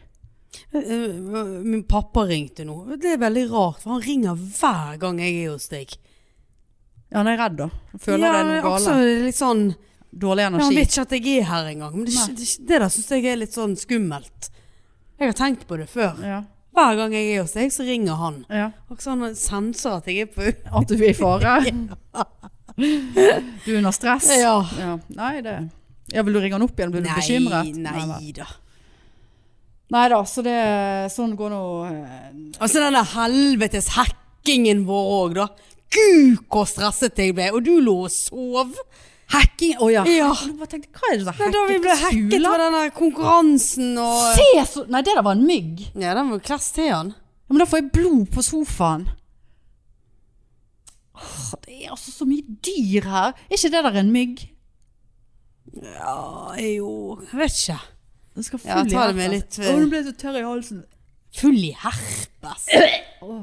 [SPEAKER 2] Eh, Min pappa ringte nå. Det er veldig rart, for han ringer hver gang jeg er hos deg.
[SPEAKER 1] Ja, han er redd, da. Han Føler det er
[SPEAKER 2] men
[SPEAKER 1] noe
[SPEAKER 2] også
[SPEAKER 1] galt.
[SPEAKER 2] er det litt sånn
[SPEAKER 1] Dårlig
[SPEAKER 2] ja, Han
[SPEAKER 1] energi.
[SPEAKER 2] vet ikke at jeg er her engang. Men det,
[SPEAKER 1] Nei.
[SPEAKER 2] det, det der syns jeg er litt sånn skummelt. Jeg har tenkt på det før.
[SPEAKER 1] Ja,
[SPEAKER 2] Hver gang jeg er hos deg, så ringer han.
[SPEAKER 1] ja.
[SPEAKER 2] Og så han senser at jeg er på
[SPEAKER 1] At du er i fare. *laughs* Du er under stress.
[SPEAKER 2] Ja.
[SPEAKER 1] Ja. Nei, det ja, Vil du ringe han opp igjen? Blir du bekymret?
[SPEAKER 2] Nei,
[SPEAKER 1] Nei,
[SPEAKER 2] nei da.
[SPEAKER 1] nei da, så det Sånn går nå eh,
[SPEAKER 2] Altså den der helvetes hackingen vår òg, da. Gud, hvor stresset jeg ble. Og du lå og sov.
[SPEAKER 1] Hacking Å ja.
[SPEAKER 2] Ja.
[SPEAKER 1] Jeg bare tenkte, hva er det som
[SPEAKER 2] Nei, da vi ble hacket
[SPEAKER 1] Fugler?
[SPEAKER 2] på den der konkurransen og
[SPEAKER 1] Se så Nei, det der var en mygg.
[SPEAKER 2] Ja, den var klass til han.
[SPEAKER 1] Ja, men da får jeg blod på sofaen. Åh, det er altså så mye dyr her. Er ikke det der en mygg?
[SPEAKER 2] Ja, jo Jeg vet ikke.
[SPEAKER 1] Den skal full
[SPEAKER 2] Ja, ta
[SPEAKER 1] i
[SPEAKER 2] det med
[SPEAKER 1] herpes.
[SPEAKER 2] litt, eh,
[SPEAKER 1] Åh, nå ble jeg så tørr i halsen.
[SPEAKER 2] Full i herpes.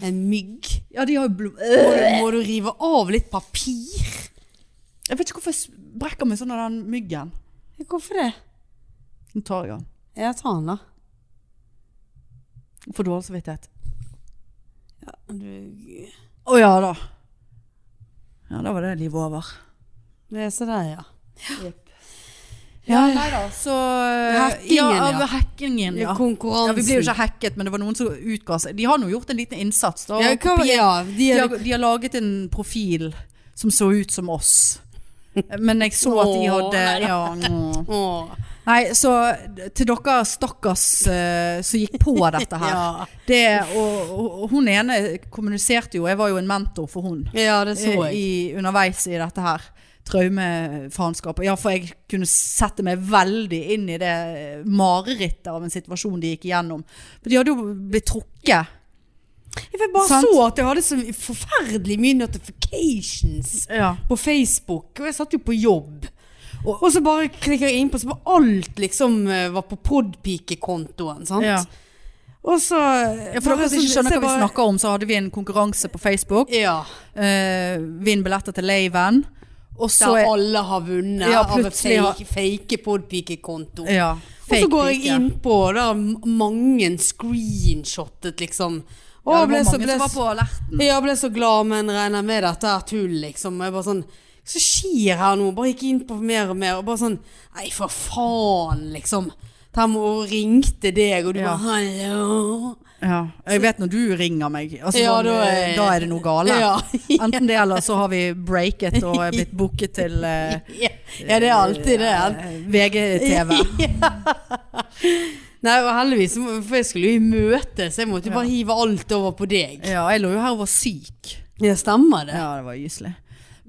[SPEAKER 2] En mygg.
[SPEAKER 1] Ja, de har jo blod
[SPEAKER 2] Må du, må du rive av litt papir?
[SPEAKER 1] Jeg vet ikke hvorfor jeg brekker meg sånn av den myggen.
[SPEAKER 2] Hvorfor det?
[SPEAKER 1] Nå tar jeg den.
[SPEAKER 2] Ja, ta den, da.
[SPEAKER 1] For dårlig samvittighet.
[SPEAKER 2] Du-
[SPEAKER 1] Å ja da. Ja, da var det livet over.
[SPEAKER 2] Det er så der, ja.
[SPEAKER 1] Ja, nei da, så eh,
[SPEAKER 2] Hackingen,
[SPEAKER 1] ja.
[SPEAKER 2] ja.
[SPEAKER 1] av Hackingen, ja. ja.
[SPEAKER 2] Konkurransen.
[SPEAKER 1] Vi ble jo ikke hacket, men det var noen som utga seg. De har nå gjort en liten innsats. Da, og
[SPEAKER 2] ja, hva,
[SPEAKER 1] kopiert-
[SPEAKER 2] ja, de
[SPEAKER 1] de,
[SPEAKER 2] er,
[SPEAKER 1] har, de har laget en profil som så ut som oss. *laughs* Men jeg så at de hadde ja, mm.
[SPEAKER 2] Åh.
[SPEAKER 1] Nei, så til dere stakkars eh, som gikk på dette her.
[SPEAKER 2] Ja.
[SPEAKER 1] det, og, og hun ene kommuniserte jo, jeg var jo en mentor for hun
[SPEAKER 2] ja, det så
[SPEAKER 1] eh,
[SPEAKER 2] jeg.
[SPEAKER 1] i, underveis i dette her traumefanskapet. Ja, for jeg kunne sette meg veldig inn i det marerittet av en situasjon de gikk igjennom. For de hadde jo blitt trukket.
[SPEAKER 2] Jeg bare
[SPEAKER 1] Sant?
[SPEAKER 2] så at jeg hadde så forferdelig mye notifications på Facebook, og jeg satt jo på jobb. Og, og så bare klikker jeg innpå, så bare alt liksom eh, var på podpike-kontoen, sant?
[SPEAKER 1] Ja.
[SPEAKER 2] Og så eh,
[SPEAKER 1] Ja, for dere som ikke skjønner hva vi
[SPEAKER 2] bare-
[SPEAKER 1] snakker om, så hadde vi en konkurranse på Facebook.
[SPEAKER 2] Ja,
[SPEAKER 1] Eh, Vinn billetter til Laven. Og så
[SPEAKER 2] der
[SPEAKER 1] er-
[SPEAKER 2] alle har vunnet
[SPEAKER 1] Ja,
[SPEAKER 2] av en
[SPEAKER 1] plutselig har-
[SPEAKER 2] fake, fake podpike-konto.
[SPEAKER 1] ja,
[SPEAKER 2] Og så går jeg
[SPEAKER 1] fake-pike.
[SPEAKER 2] innpå, og der er mange screenshottet, liksom.
[SPEAKER 1] Ja,
[SPEAKER 2] Og
[SPEAKER 1] det var
[SPEAKER 2] ble
[SPEAKER 1] mange
[SPEAKER 2] så,
[SPEAKER 1] som
[SPEAKER 2] ble
[SPEAKER 1] var
[SPEAKER 2] så-
[SPEAKER 1] på alerten.
[SPEAKER 2] Jeg ble så glad, men regner med dette er tull, liksom. Jeg bare sånn Så skjer her nå? Bare gikk inn på mer og mer, og bare sånn Nei, for faen, liksom. Tam og ringte deg, og du
[SPEAKER 1] Ja.
[SPEAKER 2] bare Hallo.
[SPEAKER 1] Ja. Jeg vet når du ringer meg, altså,
[SPEAKER 2] Ja,
[SPEAKER 1] sånn,
[SPEAKER 2] da
[SPEAKER 1] da,
[SPEAKER 2] er-
[SPEAKER 1] er... det noe gale.
[SPEAKER 2] Ja.
[SPEAKER 1] *laughs*
[SPEAKER 2] *laughs*
[SPEAKER 1] Enten det, eller så har vi breaket og er blitt booket til eh,
[SPEAKER 2] *laughs* ja, det er alltid det.
[SPEAKER 1] eh,
[SPEAKER 2] *laughs*
[SPEAKER 1] VGTV.
[SPEAKER 2] Nei, og heldigvis, for jeg skulle jo i møte, så jeg måtte jo bare hive alt over på deg.
[SPEAKER 1] Ja, jeg lå jo her og var syk.
[SPEAKER 2] Ja, stemmer det?
[SPEAKER 1] Ja, det var gyselig.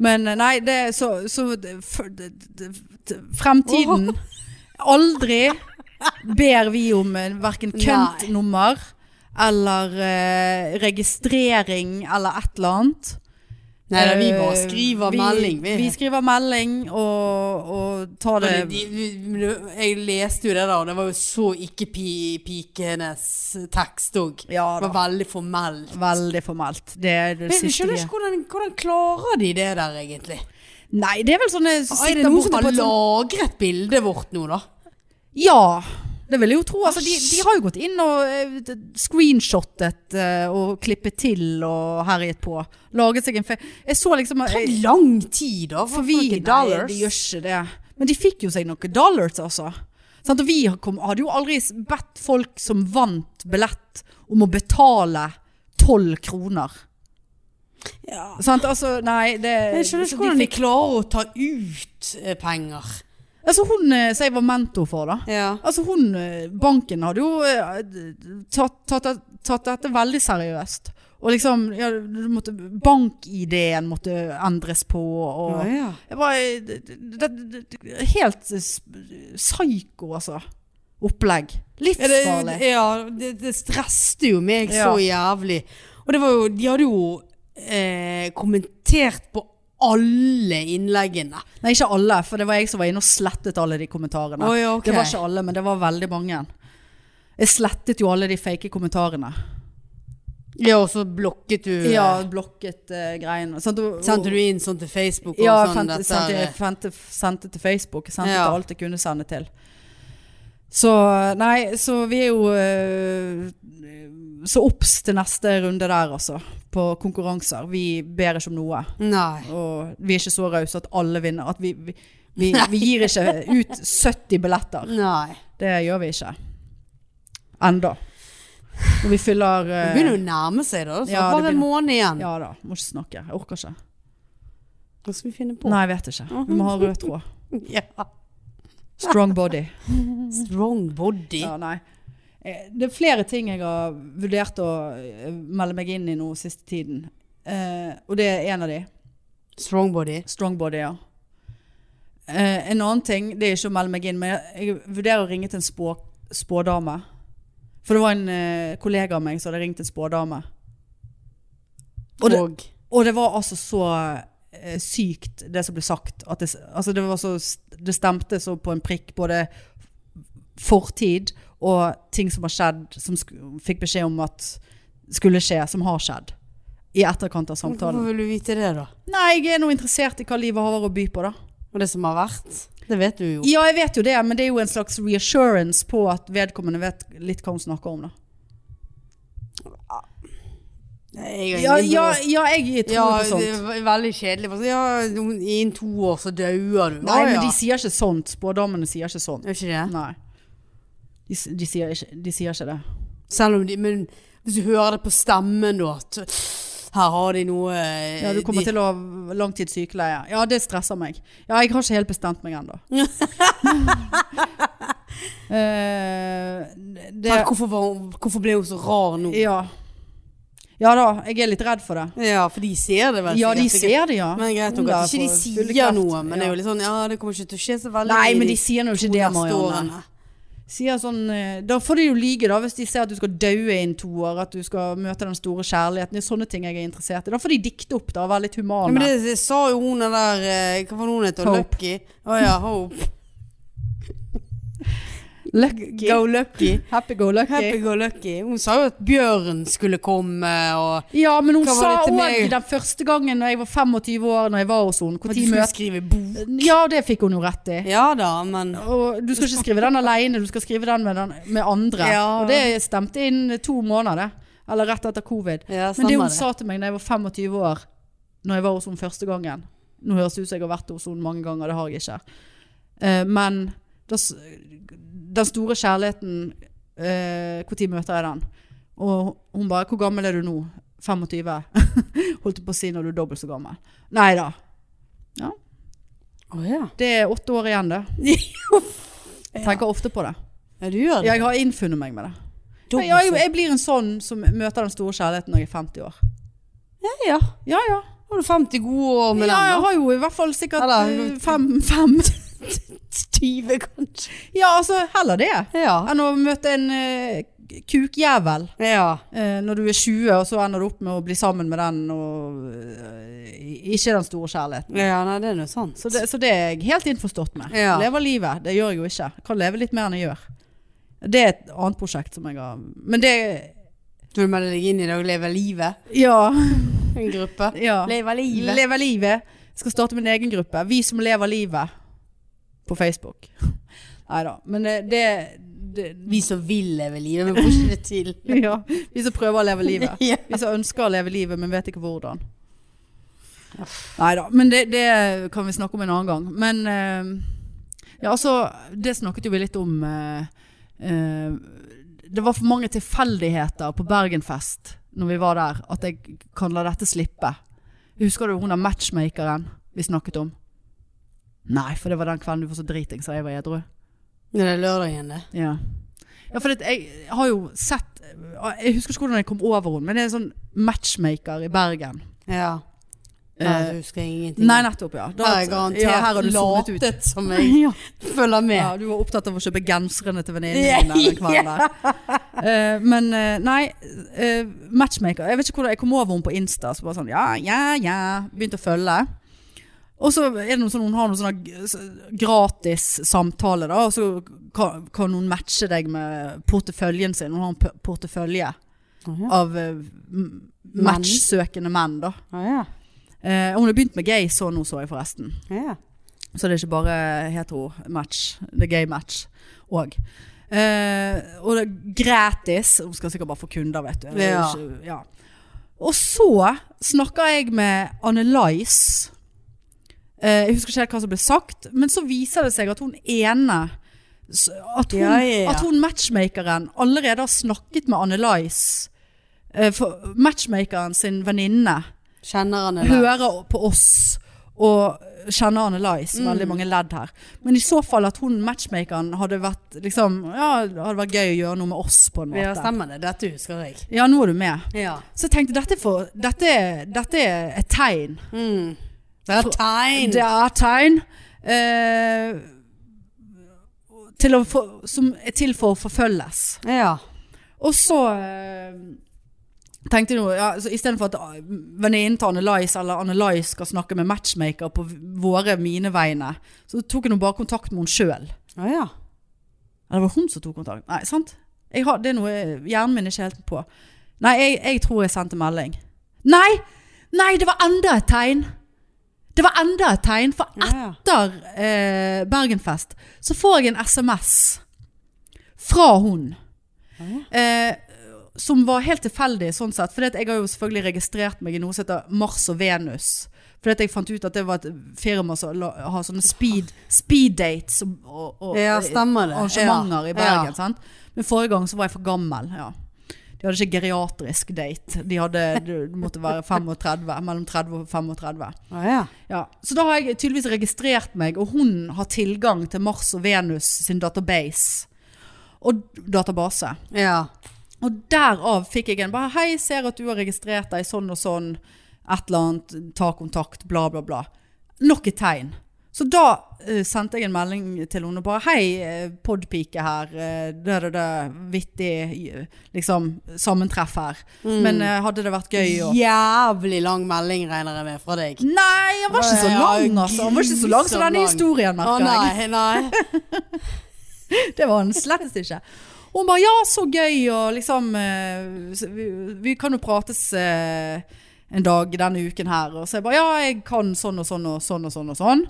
[SPEAKER 1] Men eh, nei, det er så, så det, for, det, det, det,
[SPEAKER 2] Åh.
[SPEAKER 1] Fremtiden Aldri ber vi om eh, hverken køntnummer eller eh, registrering eller et eller annet.
[SPEAKER 2] Nei da, vi bare
[SPEAKER 1] Eh,
[SPEAKER 2] skriver
[SPEAKER 1] vi-
[SPEAKER 2] melding, vi.
[SPEAKER 1] Vi, skriver melding og, og tar
[SPEAKER 2] Og
[SPEAKER 1] det
[SPEAKER 2] det- de- de- Jeg leste jo det der, og det var jo så ikke pi- pikenes tekst òg.
[SPEAKER 1] Ja da.
[SPEAKER 2] Det var veldig formelt.
[SPEAKER 1] Veldig formelt. Det er det
[SPEAKER 2] Men jeg
[SPEAKER 1] siste vi
[SPEAKER 2] skjønner ikke hvordan, hvordan klarer de det der egentlig?
[SPEAKER 1] Nei, det er vel sånne som
[SPEAKER 2] Er
[SPEAKER 1] sitter
[SPEAKER 2] det noen
[SPEAKER 1] borte
[SPEAKER 2] som
[SPEAKER 1] på
[SPEAKER 2] har
[SPEAKER 1] et sånt
[SPEAKER 2] lagret bildet vårt nå, da?
[SPEAKER 1] Ja, det vil jeg jo tro. Altså, de, de har jo gått inn og eh, d- screenshottet eh, og klippet til og herjet på. Laget seg en fe... Jeg så liksom
[SPEAKER 2] Det
[SPEAKER 1] eh,
[SPEAKER 2] er lang tid, da.
[SPEAKER 1] For vi
[SPEAKER 2] fucking
[SPEAKER 1] Nei, de gjør ikke det. Men de fikk jo seg noen dollars, altså. Sant? og vi har kom, hadde jo aldri s- bedt folk som vant billett om å betale tolv kroner.
[SPEAKER 2] Ja.
[SPEAKER 1] Sant? Altså, nei, det
[SPEAKER 2] Jeg skjønner
[SPEAKER 1] så
[SPEAKER 2] ikke hvordan
[SPEAKER 1] de
[SPEAKER 2] de klarer å ta ut eh, penger.
[SPEAKER 1] fikk- Altså, hun eh, som jeg var mentor for, da.
[SPEAKER 2] Ja.
[SPEAKER 1] Altså hun, eh, banken hadde jo eh, tatt, tatt, tatt dette veldig seriøst. Og liksom, ja, du måtte, bank-ID-en måtte endres på, og
[SPEAKER 2] Å, ja.
[SPEAKER 1] det var eh, det, det, det, det- helt eh, sp- psyko, altså, opplegg.
[SPEAKER 2] Ja, det,
[SPEAKER 1] Livsfarlig.
[SPEAKER 2] ja, det, det stresste jo meg
[SPEAKER 1] Ja.
[SPEAKER 2] så jævlig. Og det var jo, de hadde jo eh, kommentert på alle innleggene.
[SPEAKER 1] Nei, ikke alle, for det var jeg som var inne og slettet alle de kommentarene.
[SPEAKER 2] Å, ja, ok.
[SPEAKER 1] Det var ikke alle, men det var veldig mange. Jeg slettet jo alle de fake kommentarene.
[SPEAKER 2] Ja, og så blokket du
[SPEAKER 1] Ja, blokket eh, greiene. Sant? Og-
[SPEAKER 2] Sendte du inn sånn til Facebook? Og
[SPEAKER 1] Ja, jeg
[SPEAKER 2] sånn,
[SPEAKER 1] sendte,
[SPEAKER 2] dette
[SPEAKER 1] sendte,
[SPEAKER 2] er-
[SPEAKER 1] jeg sendte, sendte til Facebook. Sendte
[SPEAKER 2] Ja.
[SPEAKER 1] til alt jeg kunne sende til. Så nei, så vi er jo øh, Så obs til neste runde der, altså. På konkurranser. Vi ber ikke om noe.
[SPEAKER 2] Nei.
[SPEAKER 1] Og vi er ikke så rause at alle vinner. At vi, vi, vi, vi gir ikke ut 70 billetter.
[SPEAKER 2] Nei.
[SPEAKER 1] Det gjør vi ikke. Enda. Og vi fyller
[SPEAKER 2] Det
[SPEAKER 1] øh,
[SPEAKER 2] begynner jo å nærme seg, da. Så
[SPEAKER 1] Ja, det
[SPEAKER 2] bare en
[SPEAKER 1] begynner-
[SPEAKER 2] måned igjen.
[SPEAKER 1] Ja da. Må ikke snakke. Jeg orker ikke.
[SPEAKER 2] Hva skal vi finne på?
[SPEAKER 1] Nei, jeg vet ikke. Vi må ha rød tråd.
[SPEAKER 2] *laughs* Ja.
[SPEAKER 1] Strong body.
[SPEAKER 2] Strong body.
[SPEAKER 1] Ja, nei. Eh, Det er flere ting jeg har vurdert å eh, melde meg inn i nå siste tiden. Eh, og det er en av de.
[SPEAKER 2] Strong body.
[SPEAKER 1] Strongbody, ja. Eh, en annen ting, det er ikke å melde meg inn, men jeg- jeg vurderer å ringe til en spå, spådame. For det var en eh, kollega av meg som hadde ringt en spådame. Og det,
[SPEAKER 2] Og
[SPEAKER 1] og det var altså så eh, sykt det som ble sagt. At det, s- altså det, var så, st- det stemte så på en prikk både fortid og ting som har skjedd, som sk fikk beskjed om at skulle skje, som har skjedd. I etterkant av
[SPEAKER 2] Hvorfor
[SPEAKER 1] samtalen.
[SPEAKER 2] vil du vite det, da?
[SPEAKER 1] Nei, jeg er nå interessert i hva livet har å by på, da.
[SPEAKER 2] Og det som har vært? Det vet du jo.
[SPEAKER 1] Ja, jeg vet jo det, men det er jo en slags reassurance på at vedkommende vet litt hva hun snakker om, da.
[SPEAKER 2] Jeg
[SPEAKER 1] Ja,
[SPEAKER 2] har ingen
[SPEAKER 1] ja,
[SPEAKER 2] bra-
[SPEAKER 1] ja jeg tror
[SPEAKER 2] Ja,
[SPEAKER 1] på
[SPEAKER 2] det
[SPEAKER 1] sånt.
[SPEAKER 2] er veldig kjedelig. for så, Ja, noen- innen to år så dauer du.
[SPEAKER 1] Nei,
[SPEAKER 2] Å,
[SPEAKER 1] men
[SPEAKER 2] ja.
[SPEAKER 1] de sier ikke sånt. Spådamene sier ikke sånt.
[SPEAKER 2] Gjør ikke det?
[SPEAKER 1] Nei. De, s- de, sier ikke, de sier ikke det.
[SPEAKER 2] Selv om de Men hvis du hører det på stemmen, da at Her har de noe eh,
[SPEAKER 1] Ja, du kommer
[SPEAKER 2] de,
[SPEAKER 1] til å ha langtidssykeleie. Ja, det stresser meg. Ja, jeg har ikke helt bestemt meg
[SPEAKER 2] *laughs*
[SPEAKER 1] ennå. Eh, det
[SPEAKER 2] Tenk, hvorfor, var, hun- hvorfor ble hun så rar nå?
[SPEAKER 1] Ja. Ja da, jeg er litt redd for det.
[SPEAKER 2] Ja, for de ser det vel
[SPEAKER 1] Ja, de
[SPEAKER 2] sikkert.
[SPEAKER 1] ser det, ja.
[SPEAKER 2] Men greit
[SPEAKER 1] Hun
[SPEAKER 2] nok
[SPEAKER 1] der
[SPEAKER 2] at ikke de
[SPEAKER 1] får
[SPEAKER 2] sier
[SPEAKER 1] full kraft.
[SPEAKER 2] noe, men det
[SPEAKER 1] Ja.
[SPEAKER 2] er jo litt sånn Ja, det kommer ikke til å skje så veldig
[SPEAKER 1] Nei,
[SPEAKER 2] i
[SPEAKER 1] men
[SPEAKER 2] de
[SPEAKER 1] de sier nå ikke
[SPEAKER 2] to
[SPEAKER 1] det,
[SPEAKER 2] neste
[SPEAKER 1] Marianne.
[SPEAKER 2] årene.
[SPEAKER 1] Sier sånn, eh, da får de jo lyge, da, hvis de ser at du skal daue innen to år, at du skal møte den store kjærligheten. Det er sånne ting jeg er interessert i. Da får de dikte opp, da, og være litt
[SPEAKER 2] Ja,
[SPEAKER 1] humane.
[SPEAKER 2] men det, det sa jo hun den der eh, Hva var det hun het?
[SPEAKER 1] Hope.
[SPEAKER 2] Lucky? Å ja, Hope.
[SPEAKER 1] *laughs* Lucky. *laughs*
[SPEAKER 2] Go Lucky.
[SPEAKER 1] Happy go lucky.
[SPEAKER 2] Happy go lucky. Hun sa jo at bjørn skulle komme og
[SPEAKER 1] Ja, men hun
[SPEAKER 2] Hva var
[SPEAKER 1] sa
[SPEAKER 2] det til
[SPEAKER 1] òg
[SPEAKER 2] meg?
[SPEAKER 1] den første gangen da jeg var 25 år, når jeg var hos henne, hvor
[SPEAKER 2] at
[SPEAKER 1] tid
[SPEAKER 2] de skulle
[SPEAKER 1] møter
[SPEAKER 2] skrive bok.
[SPEAKER 1] Ja, det fikk hun jo rett i.
[SPEAKER 2] Ja da, men
[SPEAKER 1] Og du skal ikke skrive den alene, du skal skrive den med, den, med andre.
[SPEAKER 2] Ja.
[SPEAKER 1] Og det stemte inn to måneder, det. Eller rett etter covid.
[SPEAKER 2] ja, sånn
[SPEAKER 1] Men det
[SPEAKER 2] stemmer
[SPEAKER 1] hun sa til meg da jeg var 25 år, når jeg var hos henne første gangen Nå høres det ut som jeg har vært hos henne mange ganger, det har jeg ikke. Eh, men da s- den store kjærligheten eh, Hvor tid møter jeg den? Og hun bare 'Hvor gammel er du nå?' 25. *laughs* Holdt jeg på å si når du er dobbelt så gammel. Nei da.
[SPEAKER 2] Å ja.
[SPEAKER 1] Det er åtte år igjen, det.
[SPEAKER 2] *laughs*
[SPEAKER 1] Jeg tenker ofte på det.
[SPEAKER 2] ja, du gjør det. altså.
[SPEAKER 1] Jeg har innfunnet meg med det.
[SPEAKER 2] Dobbelt
[SPEAKER 1] Jeg, jeg,
[SPEAKER 2] så-
[SPEAKER 1] jeg blir en sånn som møter den store kjærligheten når jeg er 50 år.
[SPEAKER 2] ja, ja.
[SPEAKER 1] Ja ja.
[SPEAKER 2] Har du 50 gode år med
[SPEAKER 1] ja, jeg
[SPEAKER 2] den? da?
[SPEAKER 1] har jo i hvert fall sikkert
[SPEAKER 2] Eller-
[SPEAKER 1] eh, fem, fem *laughs*
[SPEAKER 2] 20, kanskje.
[SPEAKER 1] Ja, altså, heller det
[SPEAKER 2] Ja.
[SPEAKER 1] enn å møte en eh, kukjævel
[SPEAKER 2] ja.
[SPEAKER 1] eh, når du er 20, og så ender du opp med å bli sammen med den, og eh, ikke den store kjærligheten.
[SPEAKER 2] Ja, nei, det er nå sant.
[SPEAKER 1] Så det, så det er jeg helt innforstått med.
[SPEAKER 2] Ja.
[SPEAKER 1] Lever livet. Det gjør jeg jo ikke. Jeg kan leve litt mer enn jeg gjør. Det er et annet prosjekt som jeg har Men det
[SPEAKER 2] Du melder deg inn i dag og lever livet?
[SPEAKER 1] Ja. *laughs*
[SPEAKER 2] En gruppe?
[SPEAKER 1] ja.
[SPEAKER 2] Lever livet?
[SPEAKER 1] Leve livet. Skal starte min egen gruppe. Vi som lever livet. På Facebook. *laughs* Nei da. Men det, det, det
[SPEAKER 2] Vi som vil leve livet, men får ikke det til.
[SPEAKER 1] ja, *laughs* Vi som prøver å leve livet.
[SPEAKER 2] *laughs* Ja.
[SPEAKER 1] Vi som ønsker å leve livet, men vet ikke hvordan. Nei da. Men det, det kan vi snakke om en annen gang. Men eh, ja, altså Det snakket jo vi litt om. eh, eh, det var for mange tilfeldigheter på Bergenfest når vi var der, at jeg kan la dette slippe. Husker du hun der matchmakeren vi snakket om? Nei, for det var den kvelden du var så driting, så jeg var edru.
[SPEAKER 2] Når det er lørdagen, det.
[SPEAKER 1] Ja. ja, for det, jeg har jo sett Jeg husker ikke hvordan jeg kom over henne, men det er en sånn matchmaker i Bergen.
[SPEAKER 2] Ja. Nei,
[SPEAKER 1] Eh,
[SPEAKER 2] du husker jeg ingenting.
[SPEAKER 1] Nei, nettopp, ja. Da-
[SPEAKER 2] Her er jeg garantert
[SPEAKER 1] ja, her har du zonet ut.
[SPEAKER 2] latet som jeg
[SPEAKER 1] Ja.
[SPEAKER 2] følger med.
[SPEAKER 1] Ja, du var opptatt av å kjøpe genserne til venninnen din den kvelden der. Eh, men eh, nei, eh, matchmaker Jeg vet ikke hvordan jeg kom over henne på Insta. Så bare sånn, ja, ja, ja Begynte å følge. Og så er det noen sånn, hun har noen sånne g- s- gratis samtale, da. Og så kan, kan hun matche deg med porteføljen sin. Hun har en p- portefølje
[SPEAKER 2] Å,
[SPEAKER 1] av eh, m- matchsøkende menn, da.
[SPEAKER 2] ja.
[SPEAKER 1] Eh, hun har begynt med gay, så nå så jeg forresten.
[SPEAKER 2] Ja.
[SPEAKER 1] Så det er ikke bare hetero-match. Det er gay-match òg. Eh, og det er gratis. Hun skal sikkert bare få kunder, vet du. Det er jo
[SPEAKER 2] Ja.
[SPEAKER 1] ikke- ja. Og så snakker jeg med Anne Lice. Eh, jeg husker ikke helt hva som ble sagt, men så viser det seg at hun ene s- At hun,
[SPEAKER 2] Ja, ja, ja.
[SPEAKER 1] At hun matchmakeren allerede har snakket med Anne Lice. Eh, for matchmakeren sin venninne
[SPEAKER 2] Kjenner han det? der?
[SPEAKER 1] hører på oss og kjenner Anne Lice,
[SPEAKER 2] Mm.
[SPEAKER 1] veldig mange ledd her. Men i så fall at hun matchmakeren hadde vært liksom, ja, det hadde vært gøy å gjøre noe med oss på en
[SPEAKER 2] Ja,
[SPEAKER 1] måte.
[SPEAKER 2] stemmer det. Dette husker jeg.
[SPEAKER 1] Ja, nå er du med.
[SPEAKER 2] Ja.
[SPEAKER 1] Så jeg tenkte, dette, er for, dette, er- dette er et tegn.
[SPEAKER 2] Mm. Det er tegn.
[SPEAKER 1] Det er et tegn eh, til å få, som er til for å forfølges.
[SPEAKER 2] Ja.
[SPEAKER 1] Og så eh, tenkte jeg noe, ja, så istedenfor at ah, venninnen til Annelise eller Annelise skal snakke med matchmaker på v- våre, mine vegne, så tok jeg nå bare kontakt med henne sjøl.
[SPEAKER 2] Å ja.
[SPEAKER 1] Eller var det hun som tok kontakt? Nei, sant? Jeg har, det er noe hjernen min er ikke helt på. Nei, jeg, jeg tror jeg sendte melding. Nei! Nei, det var enda et tegn! Det var enda et tegn, for
[SPEAKER 2] Ja, ja.
[SPEAKER 1] etter eh, Bergenfest så får jeg en SMS fra hun. Eh, som var helt tilfeldig sånn sett. For jeg har jo selvfølgelig registrert meg i noe som heter Mars og Venus. Fordi jeg fant ut at det var et firma som la- har sånne speed, speed dates og, og, og
[SPEAKER 2] Ja, stemmer det.
[SPEAKER 1] arrangementer
[SPEAKER 2] Ja.
[SPEAKER 1] i Bergen.
[SPEAKER 2] Ja.
[SPEAKER 1] Sant? Men forrige gang så var jeg for gammel. Ja. De hadde ikke geriatrisk date. De hadde, du du måtte være 35, mellom 30 og 35.
[SPEAKER 2] Å ja.
[SPEAKER 1] Ja. Så da har jeg tydeligvis registrert meg, og hun har tilgang til Mars og Venus sin database. Og database.
[SPEAKER 2] Ja.
[SPEAKER 1] Og derav fikk jeg en bare Hei, ser at du har registrert deg sånn og sånn. Et eller annet. Ta kontakt. Bla, bla, bla. Nok et tegn. Så da eh, sendte jeg en melding til henne og bare Hei, eh, podpike her. eh, det, det, det. Vittig eh, liksom sammentreff her. Men eh, hadde det vært gøy å
[SPEAKER 2] Jævlig lang melding regner jeg med fra deg.
[SPEAKER 1] Nei, han var ikke så
[SPEAKER 2] Ja,
[SPEAKER 1] lang, altså. Han var ikke så lang som denne
[SPEAKER 2] grusomt lang.
[SPEAKER 1] historien,
[SPEAKER 2] Å
[SPEAKER 1] merker jeg.
[SPEAKER 2] nei, nei.
[SPEAKER 1] Det var han slettes ikke. Og hun bare ja, så gøy, og liksom eh, så vi, vi kan jo prates eh, en dag denne uken her. Og så jeg bare ja, jeg kan sånn og sånn og sånn og sånn. Og sånn.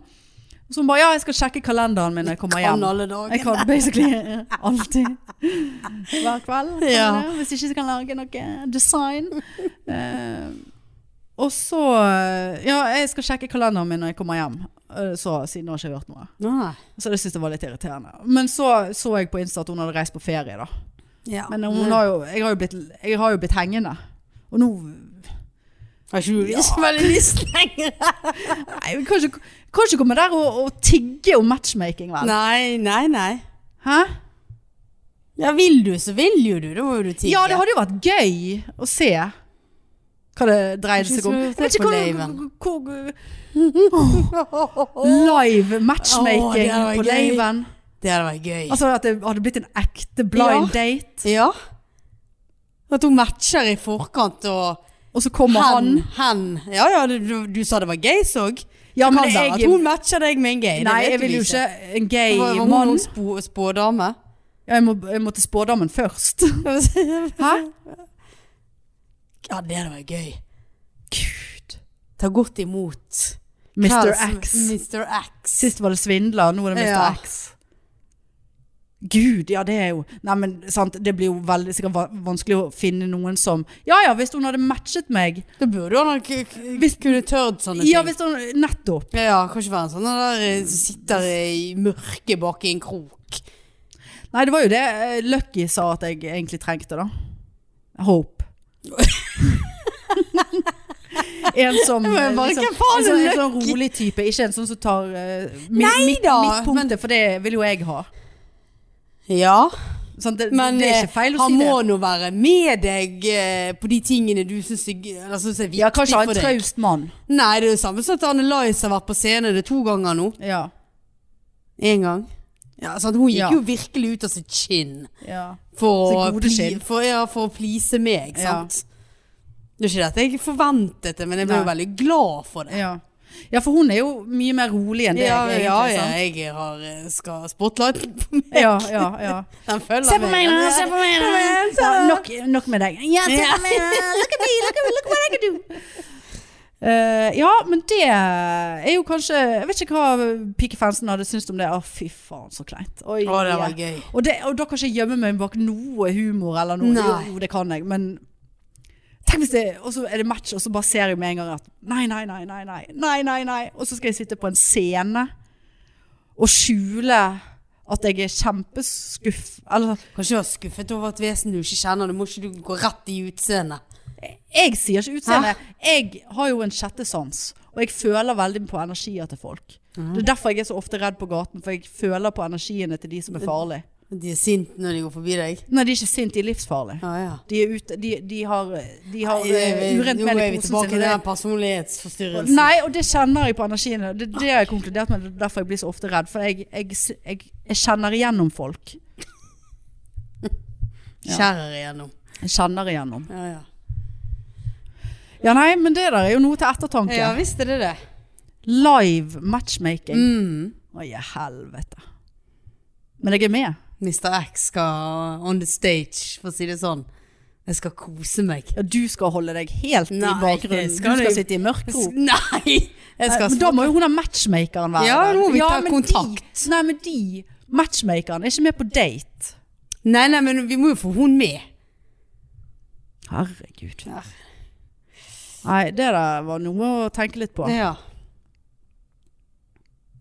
[SPEAKER 1] Og så hun bare ja, jeg skal sjekke kalenderen min når jeg kommer
[SPEAKER 2] Kan
[SPEAKER 1] hjem.
[SPEAKER 2] alle
[SPEAKER 1] Jeg
[SPEAKER 2] dager.
[SPEAKER 1] kan basically alltid. Hver kveld. kan
[SPEAKER 2] Ja.
[SPEAKER 1] jeg det, Hvis ikke så kan jeg lage noe design. Eh, og så eh, Ja, jeg skal sjekke kalenderen min når jeg kommer hjem. Eh, Så siden har jeg ikke hørt noe.
[SPEAKER 2] Nei.
[SPEAKER 1] Så det syntes jeg var litt irriterende. Men så så jeg på Insta at hun hadde reist på ferie, da.
[SPEAKER 2] Ja.
[SPEAKER 1] Men hun har jo, jeg, har jo blitt, jeg har jo blitt hengende. Og nå
[SPEAKER 2] Har ikke du lyst veldig lyst lenger?
[SPEAKER 1] *laughs* Nei, vi kan ikke, kan ikke komme der og, og tigge om matchmaking, vel?
[SPEAKER 2] Nei, nei, nei.
[SPEAKER 1] Hæ?
[SPEAKER 2] Ja, vil du, så vil jo du. Da må jo du tigge.
[SPEAKER 1] Ja, det hadde jo vært gøy å se hva det dreide seg om. Jeg vet ikke hva hvor, Live
[SPEAKER 2] Åh, det
[SPEAKER 1] matchmaking
[SPEAKER 2] hadde vært
[SPEAKER 1] på
[SPEAKER 2] gøy.
[SPEAKER 1] laven.
[SPEAKER 2] Det hadde vært gøy.
[SPEAKER 1] Altså at det hadde blitt en ekte blind date.
[SPEAKER 2] ja. At hun matcher i forkant og
[SPEAKER 1] Og så kommer han.
[SPEAKER 2] hen, hen. Ja, ja, du, du, du sa det var gays òg.
[SPEAKER 1] Ja,
[SPEAKER 2] kan
[SPEAKER 1] men
[SPEAKER 2] det være
[SPEAKER 1] jeg-
[SPEAKER 2] at hun matcher deg med en gay.
[SPEAKER 1] Nei,
[SPEAKER 2] det vet
[SPEAKER 1] jeg
[SPEAKER 2] du
[SPEAKER 1] vil jo ikke en gay
[SPEAKER 2] Var, var hun
[SPEAKER 1] mann.
[SPEAKER 2] noen spå, spådame?
[SPEAKER 1] Ja, jeg, må, jeg måtte spådommen først. *laughs* Hæ?
[SPEAKER 2] ja, det hadde vært gøy.
[SPEAKER 1] Gud.
[SPEAKER 2] Ta godt imot.
[SPEAKER 1] Mr.
[SPEAKER 2] Hva som-
[SPEAKER 1] X.
[SPEAKER 2] Mr. X.
[SPEAKER 1] Sist var det svindler, nå er det Mr.
[SPEAKER 2] Ja.
[SPEAKER 1] X. Gud, ja det er jo Nei, men sant, det blir jo veldig sikkert va- vanskelig å finne noen som Ja ja, hvis hun hadde matchet meg
[SPEAKER 2] Da burde han ha k- k- kunne tørt sånne
[SPEAKER 1] Ja,
[SPEAKER 2] ting.
[SPEAKER 1] hvis hun Nettopp.
[SPEAKER 2] Ja, ja, kan ikke være en sånn der eh, som sitter i mørket bak i en krok.
[SPEAKER 1] Nei, det var jo det eh, Lucky sa at jeg egentlig trengte, da. Hope. *laughs* En som
[SPEAKER 2] Men
[SPEAKER 1] eh,
[SPEAKER 2] bare
[SPEAKER 1] liksom,
[SPEAKER 2] hvem faen
[SPEAKER 1] en, sånn,
[SPEAKER 2] er
[SPEAKER 1] en sånn
[SPEAKER 2] Lucky?
[SPEAKER 1] rolig type. Ikke en sånn som tar eh, mi,
[SPEAKER 2] Nei
[SPEAKER 1] midt,
[SPEAKER 2] da,
[SPEAKER 1] midtpunktet, for det vil jo jeg ha.
[SPEAKER 2] Ja,
[SPEAKER 1] Sant? det,
[SPEAKER 2] men
[SPEAKER 1] det er
[SPEAKER 2] eh,
[SPEAKER 1] ikke feil å
[SPEAKER 2] han
[SPEAKER 1] si det.
[SPEAKER 2] må nå være med deg eh, på de tingene du syns er, g- eller synes er viktig
[SPEAKER 1] Ja, kanskje ha
[SPEAKER 2] for
[SPEAKER 1] en
[SPEAKER 2] deg.
[SPEAKER 1] traust mann.
[SPEAKER 2] Nei, det er det samme som at Anne Lice har vært på scenen det er to ganger nå.
[SPEAKER 1] Ja.
[SPEAKER 2] Én gang. Ja, sant? Hun gikk
[SPEAKER 1] Ja.
[SPEAKER 2] jo virkelig ut av sitt kinn
[SPEAKER 1] ja.
[SPEAKER 2] for,
[SPEAKER 1] Sitt
[SPEAKER 2] å
[SPEAKER 1] gode
[SPEAKER 2] pli-
[SPEAKER 1] skinn.
[SPEAKER 2] for, ja, for å please meg,
[SPEAKER 1] Ja.
[SPEAKER 2] sant. Det er ikke dette jeg forventet det, men jeg ble jo
[SPEAKER 1] Nei.
[SPEAKER 2] veldig glad for det.
[SPEAKER 1] ja. Ja, for hun er jo mye mer rolig enn deg,
[SPEAKER 2] Ja,
[SPEAKER 1] egentlig.
[SPEAKER 2] ja, ja,
[SPEAKER 1] sant?
[SPEAKER 2] jeg har, eh, skal spotlight på meg.
[SPEAKER 1] ja, ja, ja.
[SPEAKER 2] Den følger
[SPEAKER 1] *laughs* Se på meg nå, se på meg nå. Ja, nok, nok med deg. Ja, se
[SPEAKER 2] Ja. *laughs*
[SPEAKER 1] på meg nå. Look at me, look at, look what I can do. Eh, ja, men det er jo kanskje Jeg vet ikke hva Pike Fansen hadde syntes om det. Å, fy faen, så kleint. Oi,
[SPEAKER 2] Å, det
[SPEAKER 1] ja.
[SPEAKER 2] var gøy.
[SPEAKER 1] Og, det, og da kan ikke jeg gjemme meg bak noe humor eller noe.
[SPEAKER 2] Nei.
[SPEAKER 1] Jo, det kan jeg, men Tenk hvis det Og så er det match, og så bare ser jeg med en gang at nei, nei, nei, nei, nei, nei, nei, nei. Og så skal jeg sitte på en scene og skjule at jeg er kjempeskuff. Eller
[SPEAKER 2] Kan ikke være skuffet over et vesen du ikke kjenner. Du må ikke du gå rett i utseendet.
[SPEAKER 1] Jeg sier ikke utseende.
[SPEAKER 2] Ah.
[SPEAKER 1] Jeg har jo en sjette sans, og jeg føler veldig på energier til folk.
[SPEAKER 2] Ah.
[SPEAKER 1] Det er derfor jeg er så ofte redd på gaten, for jeg føler på energiene til de som er farlige.
[SPEAKER 2] De er sinte når de går forbi deg.
[SPEAKER 1] Nei, de er ikke sinte, de er livsfarlige.
[SPEAKER 2] Ja, ja.
[SPEAKER 1] De, er ute, de, de har, de har eh,
[SPEAKER 2] Nå
[SPEAKER 1] urent mel
[SPEAKER 2] Ah. er
[SPEAKER 1] i
[SPEAKER 2] vi
[SPEAKER 1] posen
[SPEAKER 2] tilbake til
[SPEAKER 1] sin.
[SPEAKER 2] den personlighetsforstyrrelsen.
[SPEAKER 1] Nei, og det kjenner jeg på energiene. Det, det har jeg konkludert med, det er derfor jeg blir så ofte redd. For jeg, jeg, s- jeg, jeg kjenner igjennom folk. Ja.
[SPEAKER 2] Skjærer igjennom.
[SPEAKER 1] Jeg kjenner igjennom.
[SPEAKER 2] Ja, ja.
[SPEAKER 1] Ja, nei, men det der er jo noe til ettertanke.
[SPEAKER 2] ja visst er det det.
[SPEAKER 1] Live matchmaking.
[SPEAKER 2] Mm.
[SPEAKER 1] Oi, helvete. Men jeg er med.
[SPEAKER 2] Mr. X skal on the stage, for å si det sånn. Jeg skal kose meg.
[SPEAKER 1] Ja, du skal holde deg helt
[SPEAKER 2] Nei,
[SPEAKER 1] i bakgrunnen.
[SPEAKER 2] det skal
[SPEAKER 1] du
[SPEAKER 2] jeg-
[SPEAKER 1] skal sitte i mørk ro.
[SPEAKER 2] Nei! Jeg
[SPEAKER 1] Nei,
[SPEAKER 2] skal
[SPEAKER 1] Men da må jo hun der matchmakeren være
[SPEAKER 2] Ja,
[SPEAKER 1] der.
[SPEAKER 2] nå må vi ta
[SPEAKER 1] men
[SPEAKER 2] kontakt.
[SPEAKER 1] De, nei, men de matchmakeren er ikke med på date.
[SPEAKER 2] Nei, nei, men vi må jo få hun med.
[SPEAKER 1] Herregud. Nei, det der var noe å tenke litt på.
[SPEAKER 2] Ja.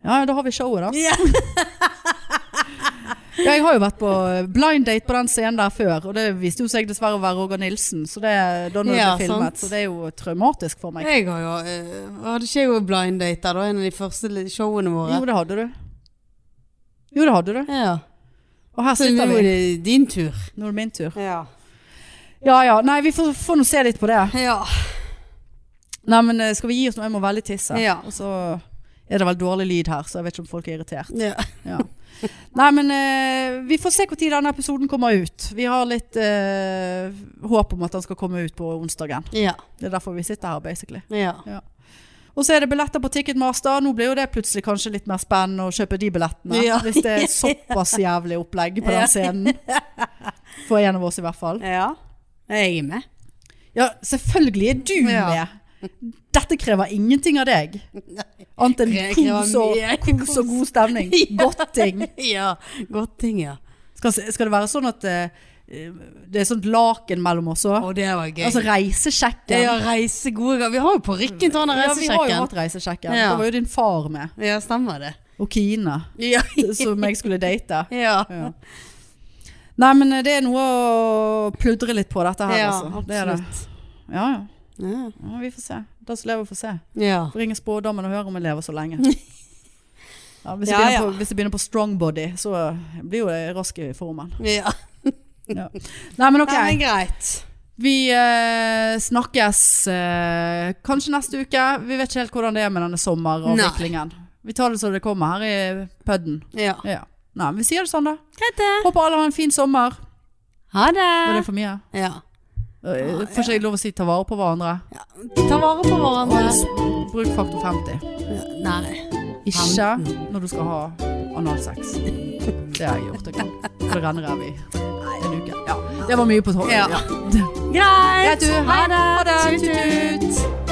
[SPEAKER 1] Ja, da har vi showet, da.
[SPEAKER 2] Ja.
[SPEAKER 1] Ja, jeg har jo vært på blind date på den scenen der før, og det viste jo seg dessverre å være Roger Nilsen. Så det, da når
[SPEAKER 2] Ja,
[SPEAKER 1] det ble
[SPEAKER 2] sant.
[SPEAKER 1] filmet, så det er jo traumatisk for meg.
[SPEAKER 2] Jeg har jo eh, Hadde ikke jeg jo blind date der, da? En av de første li- showene våre.
[SPEAKER 1] Jo, det hadde du. Jo, det hadde du.
[SPEAKER 2] Ja.
[SPEAKER 1] Og her
[SPEAKER 2] Så nå
[SPEAKER 1] sitter
[SPEAKER 2] er
[SPEAKER 1] vi.
[SPEAKER 2] det din tur.
[SPEAKER 1] Nå er det min tur.
[SPEAKER 2] Ja.
[SPEAKER 1] Ja ja, nei, vi får, får nå se litt på det.
[SPEAKER 2] ja.
[SPEAKER 1] Nei, men eh, skal vi gi oss nå? Jeg må veldig tisse.
[SPEAKER 2] Ja.
[SPEAKER 1] Og så er det vel dårlig lyd her, så jeg vet ikke om folk er irritert.
[SPEAKER 2] ja.
[SPEAKER 1] Ja. Nei, men eh, vi får se når denne episoden kommer ut. Vi har litt eh, håp om at den skal komme ut på onsdagen.
[SPEAKER 2] ja.
[SPEAKER 1] Det er derfor vi sitter her, basically.
[SPEAKER 2] ja.
[SPEAKER 1] Og så er det billetter på Ticketmaster. Nå blir jo det plutselig kanskje litt mer spennende å kjøpe de billettene.
[SPEAKER 2] Ja.
[SPEAKER 1] Hvis det er såpass jævlig opplegg på
[SPEAKER 2] Ja.
[SPEAKER 1] den
[SPEAKER 2] *laughs*
[SPEAKER 1] scenen. For en av oss i hvert fall.
[SPEAKER 2] Jeg er med.
[SPEAKER 1] Ja, selvfølgelig er du
[SPEAKER 2] Ja.
[SPEAKER 1] med. Dette krever ingenting av deg. Annet enn
[SPEAKER 2] Kre- krever
[SPEAKER 1] kos og,
[SPEAKER 2] mye
[SPEAKER 1] kos og god stemning.
[SPEAKER 2] Ja.
[SPEAKER 1] Godting.
[SPEAKER 2] *laughs* Ja. Godt ting, ja.
[SPEAKER 1] Skal, skal det være sånn at eh, det er sånt laken mellom oss òg?
[SPEAKER 2] Å, det var gøy.
[SPEAKER 1] Altså reisesjekken.
[SPEAKER 2] det å reise gode ganger. Vi har jo parykken til han der
[SPEAKER 1] Ja, vi har jo
[SPEAKER 2] reisesjekken.
[SPEAKER 1] hatt reisesjekken.
[SPEAKER 2] Ja.
[SPEAKER 1] Da var jo din far med.
[SPEAKER 2] Ja, stemmer det.
[SPEAKER 1] Og Kine,
[SPEAKER 2] *laughs* Ja.
[SPEAKER 1] som jeg skulle date.
[SPEAKER 2] ja.
[SPEAKER 1] Ja. Nei, men det er noe å pludre litt på dette her,
[SPEAKER 2] Ja,
[SPEAKER 1] altså. Det er det.
[SPEAKER 2] absolutt.
[SPEAKER 1] Ja, ja.
[SPEAKER 2] Ja.
[SPEAKER 1] ja, vi får se. Da som lever, får se.
[SPEAKER 2] ja.
[SPEAKER 1] Får ringe spådommen og høre om jeg lever så
[SPEAKER 2] *laughs*
[SPEAKER 1] lenge. Ja, hvis, jeg
[SPEAKER 2] Ja,
[SPEAKER 1] begynner
[SPEAKER 2] ja.
[SPEAKER 1] På, hvis jeg begynner på strong body, så blir jo jeg rask i formen.
[SPEAKER 2] ja.
[SPEAKER 1] Nei, men ok.
[SPEAKER 2] Nei, men greit.
[SPEAKER 1] Vi eh, snakkes eh, kanskje neste uke. Vi vet ikke helt hvordan det er med denne sommeravviklingen. Vi tar det som det kommer her i pudden.
[SPEAKER 2] Ja.
[SPEAKER 1] Ja. Nei, men vi sier det sånn, da.
[SPEAKER 2] Greit, det.
[SPEAKER 1] Håper alle har en fin sommer.
[SPEAKER 2] Ha det.
[SPEAKER 1] Var det for mye?
[SPEAKER 2] Ja.
[SPEAKER 1] Eh, Får ikke jeg lov å si ta vare på hverandre?
[SPEAKER 2] Ta vare på hverandre.
[SPEAKER 1] Bruk faktor 50.
[SPEAKER 2] Nei.
[SPEAKER 1] Ikke når du skal ha analsex. Det har jeg gjort en gang. For det renner rev i en uke. Ja, det var mye på tolv.
[SPEAKER 2] Ja.
[SPEAKER 1] Ja.
[SPEAKER 2] Greit.
[SPEAKER 1] Greit, du.
[SPEAKER 2] Ha det.
[SPEAKER 1] Ha det.
[SPEAKER 2] Tut, tut.
[SPEAKER 1] Tut, tut.